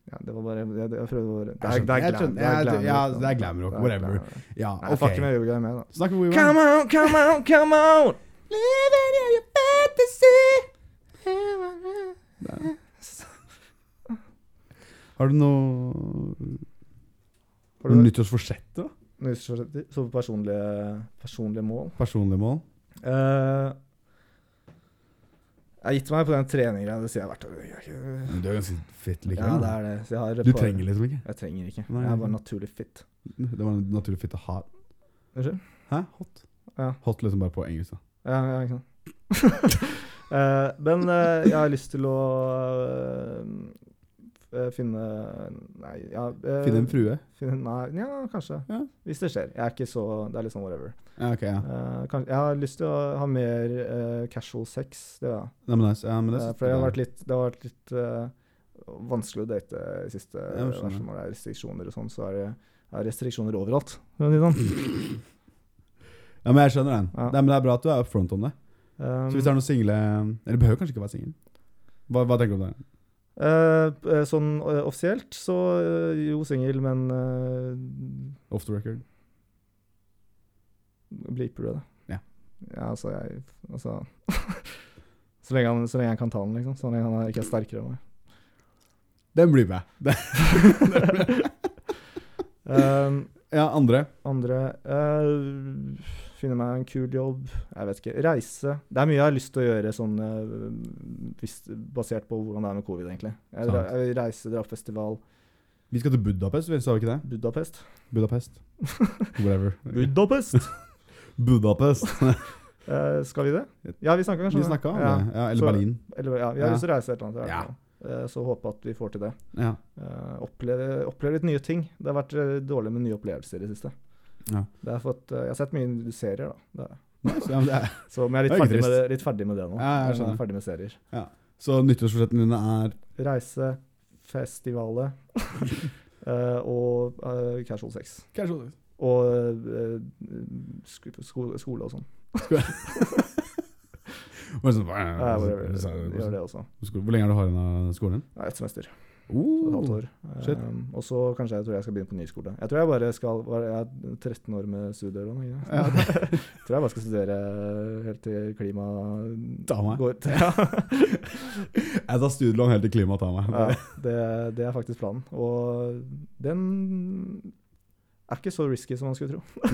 Ja, det var bare Jeg, jeg prøvde bare Det Jeg skjønner. Jeg skjønner. Ja, det- ja, det er glam rock, whatever. Ja, Nei, Jeg fucker ok. med Yoga er med, da. Snakk om Wigwam. Come on, come on, come on! Living in your Der. fantasy. Har du noe, Har du nyttårsforsett, da? noe så personlige, personlige mål? Personlig mål? Eh, jeg har gitt meg på den treninga. Det sier jeg hvert år. Jeg er ikke- Men Du er ganske fit Ja, likevel. det da. er det. Så jeg har et Du par- trenger liksom ikke. Jeg trenger ikke. Nei. Jeg er bare naturlig fit. Det var en naturlig fitte hard. Unnskyld? Hæ? Hot? Ja. Hot liksom bare på engelsk. da. Ja, ja, ikke sant. [LAUGHS] Eh, men eh, jeg har lyst til å eh, finne Nei, ja eh, Finne en frue? finne- nei, ja, kanskje. Ja. Hvis det skjer. Jeg er ikke så Det er litt sånn whatever. Ja, ok, ja. Eh, kanskje, jeg har lyst til å ha mer eh, casual sex. Det, da. Nei, men nice. Ja, men det Eh, for det har vært litt, det har vært litt eh, vanskelig å date i siste Ja, jeg skjønner. hvert fall Når det er restriksjoner og sånn, så er det er restriksjoner overalt. for å si det Mm. sånn. Ja, men jeg skjønner den. Ja. Nei, men det er bra at du er upfront om det. Um, Så hvis det er noen single Eller behøver kanskje ikke være singel. Hva, hva tenker du om det? Eh, p- eh, sånn eh, offisielt så eh, jo singel, men uh, Off the record? bleeper du det? Ja. Ja, altså, jeg Altså [LAUGHS] så, lenge han, så lenge han kan ta den, liksom. Så lenge han er, ikke er sterkere enn meg. Den blir med. Det- Ehm, Ja, andre. andre eh, Finne meg en kul jobb. Jeg vet ikke. Reise. Det er mye jeg har lyst til å gjøre sånn eh, hvis, basert på hvordan det er med covid, egentlig. Jeg, Sant. jeg vil reise, dra på festival. Vi skal til Budapest, vi sa vi ikke det? Budapest. [LAUGHS] Budapest. Whatever. Budapest! Budapest. Eh, skal vi det? Ja, vi snakka kanskje Vi snakka om ja. det. Ja, eller Så- Berlin. Eller, ja, vi har Ja. lyst til å reise et eller annet. i hvert Ja. fall. Eh, Så håpe at vi får til det. Ja. Eh, Oppleve, oppleve litt nye ting. Det har vært eh, dårlig med nye opplevelser i det siste. Ja. Det har fått, eh, jeg har sett mye serier, da. Det, Nice. ja men det er. så men jeg er Det er litt ferdig, ikke med det, litt ferdig med det nå. Ja, jeg Jeg er skjønner. Ferdig med serier. Så nyttårsforsettene dine er Reise, [LAUGHS] festivalet eh, og eh, casual sex. Kanskje Og eh, sk sko skole og sånn. Bare sånn, bare, Ja, Eh, whatever. Gjør det Sånn også. Sko- Hvor lenge har du har igjen av skolen? Ja, Et semester. Så et halvt Oh, år. shit. Eh, og så kanskje jeg tror jeg skal begynne på ny skole. Jeg tror jeg bare skal hva er det, Jeg er 13 år med studier og noe. Ja. [LAUGHS] tror jeg bare skal studere helt til klima ta meg. [LAUGHS] går ja. Jeg tar studielån helt til klimaet tar meg. ja, det, det er faktisk planen. Og den er ikke så risky som man skulle tro. det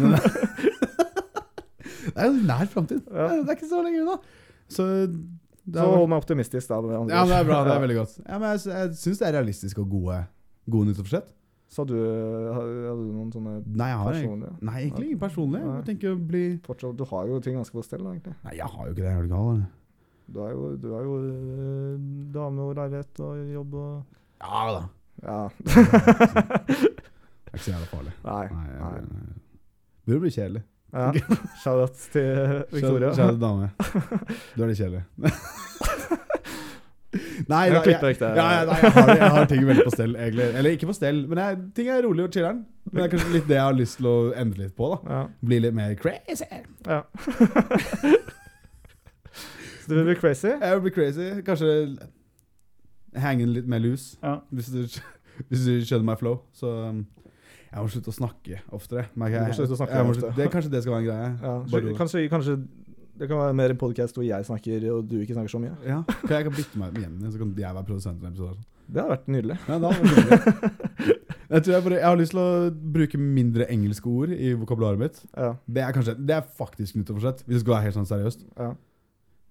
er jo nær framtid. Ja. Det er ikke så lenge unna. Så det Så har vært- hold meg optimistisk, da. med andre Ja, men det er ord. bra. Det er Ja. veldig godt. Ja, men jeg, sy- jeg syns det er realistisk og gode, gode nyttårsforsett. Så du, hadde du noen sånne Nei, jeg har egentlig personlige Nei, egentlig ikke personlig. Jeg tenker å bli fortsatt, Du har jo ting ganske på stell, da, egentlig. Nei, jeg har jo ikke det. Jeg er du gal, eller? Du har jo, du har jo øh, dame og leilighet og jobb og Ja da. [LAUGHS] Ja. Det er ikke så jævla farlig. Nei. Nei, jeg, Nei. det blir kjedelig. Ja. Shout-out til Victoria. Kjære, kjære dame. Du er litt [LAUGHS] kjedelig. nei, da, Jeg jeg, klipper vekk det. ja, ja, nei, jeg, har, jeg har ting veldig på stell, egentlig. Eller ikke på stell, men jeg, ting er rolig og chiller'n. Men det er kanskje litt det jeg har lyst til å endre litt på. da Ja. Bli litt mer crazy. ja. Så du vil bli crazy? Jeg vil bli crazy. Kanskje henge litt mer loose, Ja. hvis du, hvis du skjønner my flow. Så um, jeg må slutte å snakke oftere. merker jeg. Du må slutte å snakke Jeg må ofte. slutte- det, kanskje det skal være en greie. ja. så Bare- Kanskje, kanskje det kan være mer en podkast hvor jeg snakker og du ikke snakker så mye? ja, kan jeg kan bytte meg ut med Jenny, så kan jeg være produsent for en episode. Det hadde vært nydelig. Ja, da, var det mulig. jeg tror jeg bare Jeg har lyst til å bruke mindre engelske ord i vokabularet mitt. Ja. Det er kanskje Det er faktisk nyttårsforsett, hvis det skal være helt sånn seriøst. ja.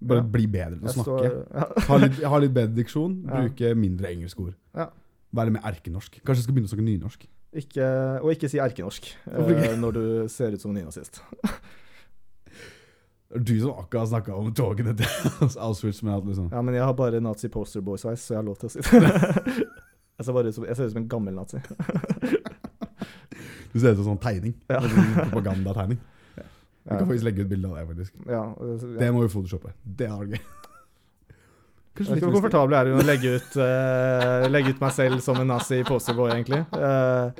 Bare Ja. bli bedre til å Jeg snakke. står- ja. Ha litt, ha litt bedre diksjon, Ja. bruke mindre engelske ord. Ja. Være mer erkenorsk. Kanskje jeg skal begynne å snakke nynorsk. Ikke, og ikke si erkenorsk Hvorfor ikke? eh, når du ser ut som en nynazist. Det er Du som akkurat snakka om togene til [LAUGHS] Auschwitz med alt, liksom. Ja, men jeg har bare nazi posterboy-sveis, så jeg har lov til [LAUGHS] å si det. Jeg ser, bare ut som, jeg ser ut som en gammel nazi. Du ser ut som en sånn tegning. Ja. En sånn Propagandategning. Du Ja, kan faktisk legge ut bilde av det, faktisk. ja, og så- Det ja. må vi photoshoppe. Det er gøy. Jeg Kanskje litt vet ikke hvor mystisk. komfortabel jeg er med å legge ut, eh, legge ut meg selv som en nazi posterboy, egentlig. Eh,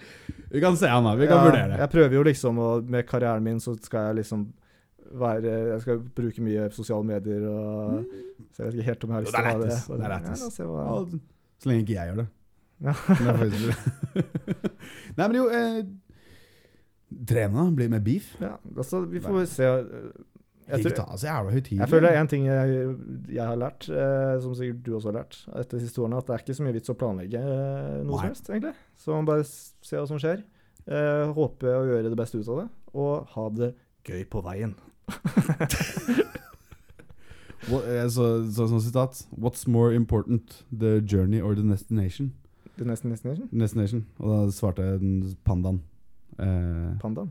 Vi kan se han, da. Vi kan ja, vurdere det. Jeg prøver jo liksom å Med karrieren min så skal jeg liksom være Jeg skal bruke mye sosiale medier og Så jeg vet ikke helt om jeg har lyst Det til er å ha det. lættis. Det er Ja, lættis. la oss se hva- Ja, Så lenge ikke jeg gjør det. [LAUGHS] Ja. Men det [LAUGHS] er faktisk- Nei, men jo eh, Trene, da. Bli med beef. Ja, altså, vi får se. Jeg, Ikke tror, ta så jævla høytidelig. jeg føler det er en ting jeg, jeg har lært, eh, som sikkert du også har lært, etter de siste årene, at det er ikke så mye vits å planlegge eh, noe Nei. som helst, egentlig. Så man bare s- ser hva som skjer. Eh, håpe å gjøre det beste ut av det, og ha det gøy på veien. What, eh, så, så, sånn sitat. What's more important, the journey or the destination? Det er nesten destination. destination. Og da svarte den pandaen. eh, Pandaen.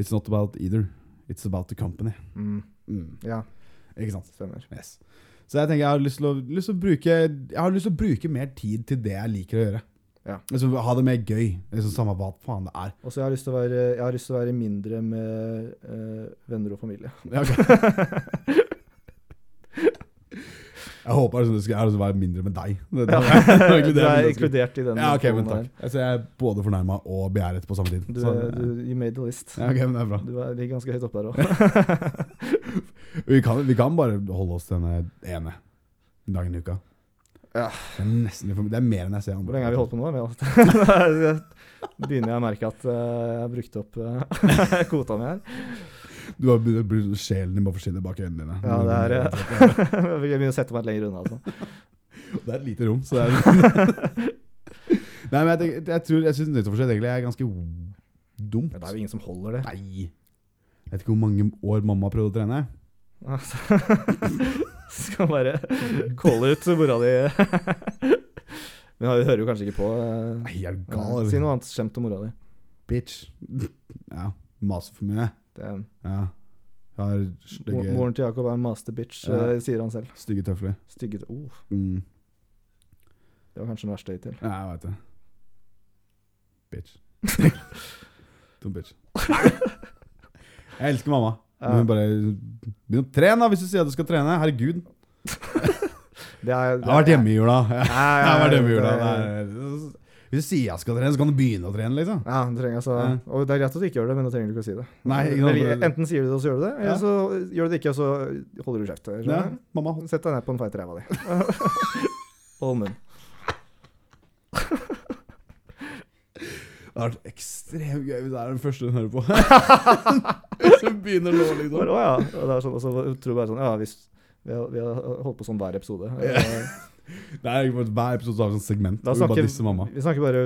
it's not about either. It's about the company. Mm, Mm. ja, Ikke sant? stemmer. Yes. Så jeg tenker jeg har lyst til, å, lyst til å bruke Jeg har lyst til å bruke mer tid til det jeg liker å gjøre. Ja. Altså, ha det mer gøy. Liksom, samme hva faen det er. Og så har jeg lyst til å være, jeg har lyst til å være mindre med eh, venner og [LAUGHS] familie. Ja, ok. [LAUGHS] Jeg håper liksom, det skal jeg har lyst til å være mindre med deg. Det, det, det [LAUGHS] var egentlig du det er jeg ønsket. inkludert i den. Ja, ok, men diskusjonen takk. Altså, jeg er både fornærma og begjæret på samme tid. her. Du, Så, er- du, you made the list. ja, ok, men det er bra. Du er, ligger ganske høyt oppe der òg. [LAUGHS] Vi kan, vi kan bare holde oss til den ene dagen i uka. Ja. Det er nesten litt for mye. Det er mer enn jeg ser andre. Hvor lenge har vi holdt på [LAUGHS] nå? Vi har- Begynner jeg å merke at eh, jeg har brukt opp eh, [LAUGHS] kvota mi her. Du har begynt å bli- sjelen din bare forsvinner bak øynene dine. Ja, det er, er, eh, [LAUGHS] jeg begynner å sette meg litt lenger unna. Altså. det er et lite rom, så det er [LAUGHS] Nei, men jeg, tenker, jeg tror Jeg syns nyttårsforsett egentlig er ganske dumt. Men det er jo ingen som holder [LAUGHS] det. Nei. Jeg vet ikke hvor mange år mamma har prøvd å trene. Altså, [LAUGHS] Skal bare calle ut mora di. [LAUGHS] Men hun hører jo kanskje ikke på. eh. Nei, jeg er du gal. Si noe annet skjemt om mora di. Bitch. [LAUGHS] Ja. Maser for mye. Det er- Ja. Jeg har mo- stygge, Moren til Jakob er en master bitch, Ja. eh, sier han selv. stygge tøfler. Stygge oh. Mm. Det var kanskje den verste hittil. Ja, jeg veit det. Bitch. Dum bitch. Jeg elsker mamma. Men hun bare Begynn å trene, da, hvis du sier at du skal trene. Herregud. Det er, Jeg har vært hjemme i jula. Jeg Nei, [LAUGHS] har vært hjemme i jula. det er- Det er- Hvis du sier jeg skal trene, så kan du begynne å trene, liksom. Ja, du trenger altså Ja. Og det er greit at du ikke gjør det, men da trenger du ikke å si det. Nei, ikke sant? Vel, enten sier du det, og så gjør du det, eller Ja. så gjør du det ikke, og så holder du kjeft. Ja, skjønner du? mamma. Sett deg ned på en feit [LAUGHS] ræva di. Hold munn. Det hadde vært ekstremt gøy hvis det er den første hun [LAUGHS] hører på. Hvis hun begynner å lå, Bare, liksom. Å ja. Og det er sånn, og så tror jeg bare sånn Ja, hvis vi har, vi har holdt på sånn hver episode. Eh, Det er ikke Hver episode så har vi sånn segment. Da hvor vi snakker- bare disser mamma. Vi snakker bare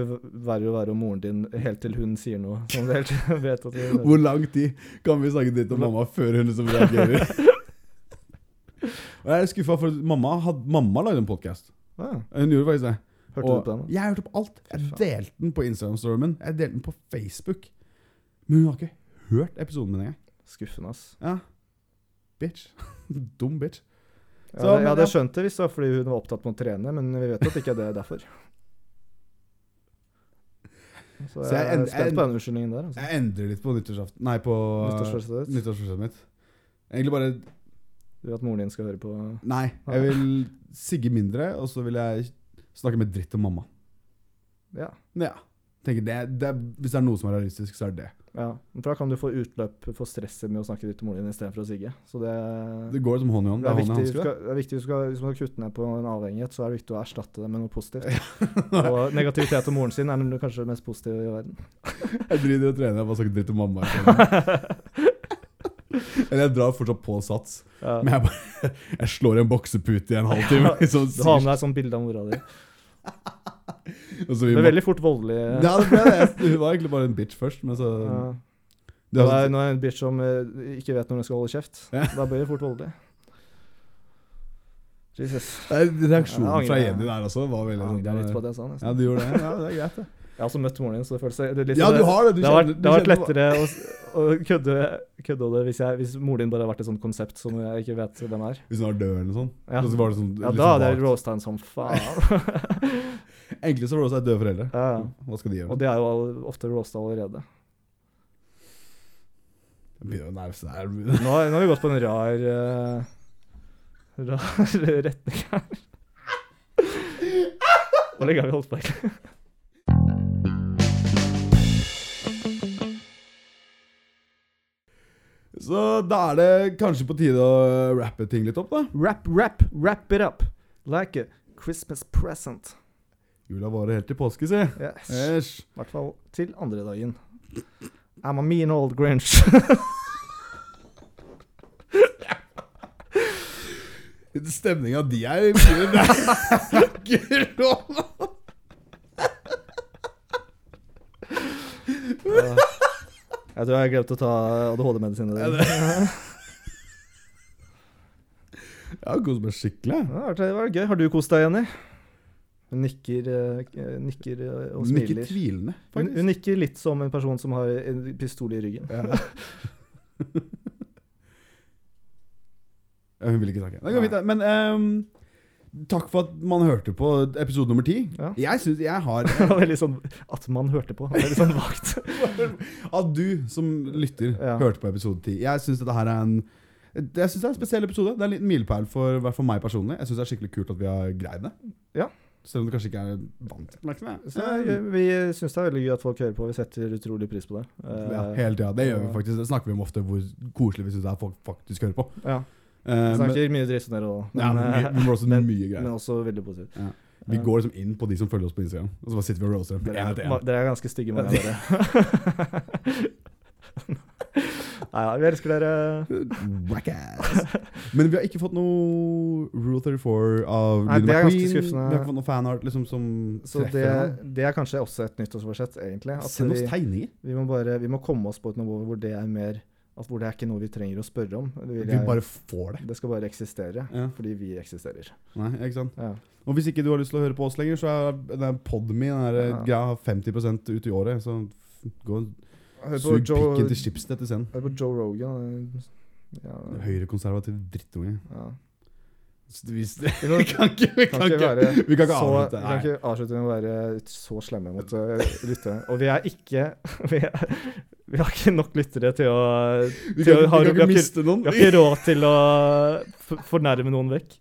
verre og verre om moren din helt til hun sier noe som du helt [LAUGHS] vet at vi Hvor lang tid kan vi snakke dritt om mamma før hun liksom reagerer? Og jeg er skuffa, for mamma, had, mamma lagde en podkast. Ja, Hun gjorde faktisk det. Hørte Og du på den? Jeg hørte på alt. Jeg Fy faen. delte den på Instagram-storyen min. Jeg delte den på Facebook. Men hun har ikke hørt episoden min engang. Skuffende, ass. Ja. Bitch. [LAUGHS] Dum bitch. Ja, Så, men jeg hadde ja. skjønt det hvis det var fordi hun var opptatt med å trene, men vi vet at ikke det er [LAUGHS] derfor. Så jeg, Så jeg er end- spent end- på den unnskyldningen der. Altså. Jeg endrer litt på nyttårsaften Nei, på Nyttårsforsettet ditt. nyttårsforsettet mitt. Egentlig bare Du vet at moren din skal høre på Nei. Jeg vil sigge mindre, og så vil jeg snakke med dritt om mamma. Ja. Ja. Tenker det, det, hvis det er noe som er realistisk, så er det det. ja. Men For da kan du få utløp for stresset med å snakke dritt om moren din istedenfor å sigge. Så det, Det går liksom hånd i hånd. det er viktig. hånd i du hanske, Skal, det er viktig du skal, hvis man skal kutte ned på en avhengighet, så er det viktig å erstatte det med [LAUGHS] noe positivt. Og negativitet om moren sin er nemlig kanskje det mest positive i [LAUGHS] verden. det. Jeg driter i å trene, jeg bare snakker dritt om mamma. i stedet. Eller jeg drar fortsatt på sats, Ja. men jeg, bare, [LAUGHS] jeg slår en boksepute i en halvtime. [LAUGHS] Liksom, Du har med deg sånn bilde av mora di. og så vi Det er må- veldig fort voldelig. ja, det ble det. Hun var egentlig bare en bitch først, men så Ja. det Nå er, er, altså nå er det en bitch som eh, ikke vet når hun skal holde kjeft. Ja. [LAUGHS] Da blir det fort voldelig. Jesus. Reaksjonen Jeg fra angrer. Jenny der også var Jeg veldig sånn angrer litt på at jeg sa nesten. Ja, du gjorde det. Ja, det er greit, det. Jeg har også møtt moren din, så det føles det, liksom, Ja, du har det. Du det har vært, kjenner- det har vært du kjenner- lettere å, s- å kødde, kødde om det hvis, jeg, hvis moren din bare har vært et sånt konsept som jeg ikke vet hvem er. Hvis hun var død eller noe sånt. Ja. Og så var det sånn, Ja, litt da sånn hadde jeg vagt. roasta henne som faen. [LAUGHS] [LAUGHS] Egentlig så var det også døde foreldre. ja, ja. Hva skal de gjøre? Og det er jo all- ofte roasta allerede. Jeg begynner å nærme seg her. Nå, har- nå har vi gått på en rar, eh, rar [LAUGHS] retning [LAUGHS] her. Hvor lenge har vi holdt på? egentlig? Så da er det kanskje på tide å rappe ting litt opp, da. Wrap, wrap, wrap it up. Like a Christmas present. Jula varer helt til påske, si. Yes. I Æsj. hvert fall til andre dagen. I'm a mean old grinch. [LAUGHS] Stemninga di er Grå! [LAUGHS] jeg tror jeg glemte å ta ADHD-medisinen Ja, din. det- Jeg har kost meg skikkelig. jeg. Ja, det var- det var gøy. Har du kost deg, Jenny? Hun nikker, eh, nikker eh, og Men ikke smiler. tvilende, Hun, hun faktisk. nikker litt som en person som har en pistol i ryggen. Ja. Ja, Hun vil ikke snakke. Det går fint, det. Men ehm, takk for at man hørte på episode nummer ti. Ja. Jeg syns jeg har [LAUGHS] Det var Veldig sånn at man hørte på. Det var Veldig sånn vagt. [LAUGHS] At du som lytter Ja. hørte på episode 10. Jeg syns dette her er en jeg synes det er en spesiell episode. Det er en liten milepæl for, i hvert fall meg personlig. Jeg syns det er skikkelig kult at vi har greid det. Ja. Selv om det kanskje ikke er vant oppmerksomhet. Så eh, vi syns det er veldig gøy at folk hører på. Vi setter utrolig pris på det. Eh, Ehm, Ja, hele tida. Det gjør vi faktisk. Det snakker vi om ofte, hvor koselig vi syns det er folk faktisk hører på. ja. Eh, men, Vi snakker mye dritt om dere òg, ja, men, men vi, eh, vi må også [LAUGHS] men- mye men greier. også veldig positivt. Vi går liksom inn på de som følger oss på Instagram, og så bare sitter vi og roaster dem. Dere en er, etter ma- en. dere er ganske stygge, mange [LAUGHS] av dere. [LAUGHS] Nei ja, vi elsker dere. Wackass. [LAUGHS] Men vi har ikke fått noe Rule 34 av Nei, Lyden det er McQueen. ganske Vi skuffende. har ikke fått noe fanart liksom, som Så treffer det, han. det er kanskje også et nyttårsforsett, egentlig. At Send oss vi, tegninger. vi, må bare, vi må komme oss på et nivå hvor det er mer at hvor det er ikke noe vi trenger å spørre om. Det, vil Vi jeg, bare får det. det skal bare eksistere, Ja. fordi vi eksisterer. Nei, ikke sant? Ja. Og hvis ikke du har lyst til å høre på oss lenger, så er den podme den der Ja. greia har 50 ut i året. Så f- gå og Hør på, sug pikken Joe, til Schibsted til scenen. hør på Joe Rogan. og- Ja, Høyrekonservativ drittunge. ja. Så hvis det, Vi vi [LAUGHS] kan, kan ikke, vi kan kan ikke være ikke, vi kan ikke så, avslutte. Vi kan Nei. ikke avslutte med å være så slemme mot eh, lyttere. Og vi er ikke [LAUGHS] vi, er, vi har ikke nok lyttere til å Vi til kan, vi å- har- kan vi ikke har ikke- miste noen. Vi har ikke råd til å f- fornærme noen vekk.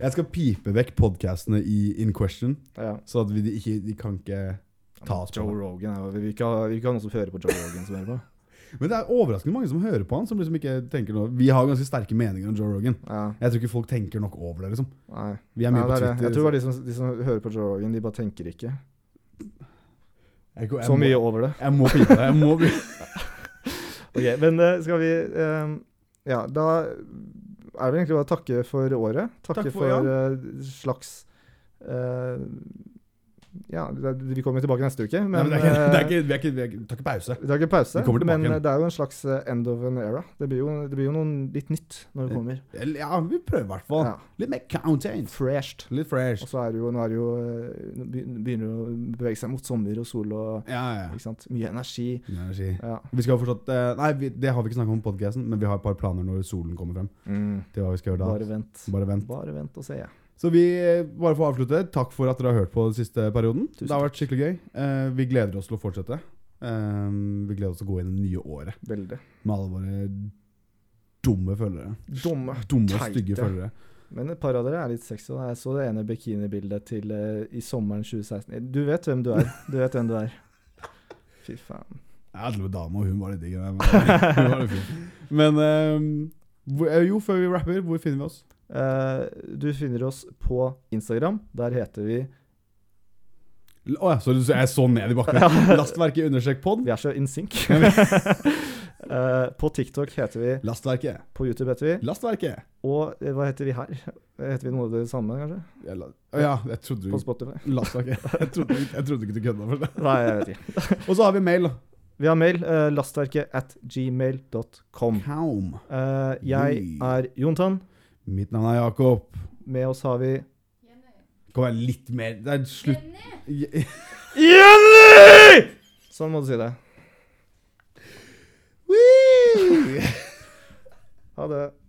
Jeg skal pipe vekk podkastene i In Question, Ja. så at vi de ikke de kan ikke Ta oss på Joe det. Rogan er jo Vi vil ikke ha, vi vil ikke ha noen som hører på Joe Rogan som hører på. Men det er overraskende mange som hører på han, som liksom ikke tenker noe Vi har ganske sterke meninger om Joe Rogan. Ja, Jeg tror ikke folk tenker nok over det, liksom. nei. Vi er mye på Nei, det er det. Twitter. Jeg tror bare de som, de som hører på Joe Rogan, de bare tenker ikke Jeg går- jeg så må- mye over det. Jeg må pipe det. Jeg må [LAUGHS] pipe. Ok, Men eh, skal vi eh, Ja, da er det vel egentlig bare å takke for året. Takke Takk for, for, eh, slags eh, Ja, det, vi kommer jo tilbake neste uke, men, Nei, men det er ikke, det er eh, ikke, vi, er ikke, vi, er ikke, vi tar ikke pause. vi tar ikke pause, Vi kommer tilbake men igjen. eh, det er jo en slags eh, end of an era. Det blir jo, det blir jo noen litt nytt når det kommer. Eller, Ja, vi prøver i hvert fall. Ja, Litt mer content. Fresht. Litt fresh. Og så er det jo, nå er det jo, eh, nå begyn- begynner det å bevege seg mot sommer og sol og Ja, ja. ikke sant? Mye energi. Mye energi. Ja. Vi skal fortsatt eh, Nei, vi, det har vi ikke snakket om på podcasten, men vi har et par planer når solen kommer frem. Mm, Til hva vi skal gjøre da. Bare vent. Bare vent. Bare vent og se. Ja. Så vi eh, bare får avslutte. Takk for at dere har hørt på den siste perioden. Tusen det har vært skikkelig gøy. Eh, vi gleder oss til å fortsette. Eh, vi gleder oss til å gå inn i det nye året Veldig. med alle våre dumme følgere. Dumme, Dumme, teite. stygge følgere. Men et par av dere er litt sexy. da. Jeg så det ene bikinibildet til eh, i sommeren 2016. Du vet hvem du er. Du vet hvem du [LAUGHS] er. Fy faen. Jeg hadde med dame, og hun var litt digg. Men, hun var litt fin. men eh, hvor, eh, jo, før vi rapper, hvor finner vi oss? Eh, du finner oss på Instagram. Der heter vi Å ja, så du- så jeg så ned i bakken. [LAUGHS] Ja. Lastverket understrek pod. Vi er så in sync. [LAUGHS] Eh, på TikTok heter vi Lastverket. På YouTube heter vi Lastverket. Og eh, hva heter vi her? Eh, Heter vi noe av det samme, kanskje? Jeg la- Å ja, jeg trodde du På Spotify? Lastverket. Jeg trodde, jeg trodde ikke du kødda for det. Nei, jeg vet ikke. Og så har vi mail. da. Vi har mail. eh, lastverket at gmail.com. Kaum. Eh, jeg er Jontan. Mitt navn er Jakob. Med oss har vi Kan være litt mer Det er slutt Jenny! [LAUGHS] Jenny! Sånn må du si det. Woo! Ha det.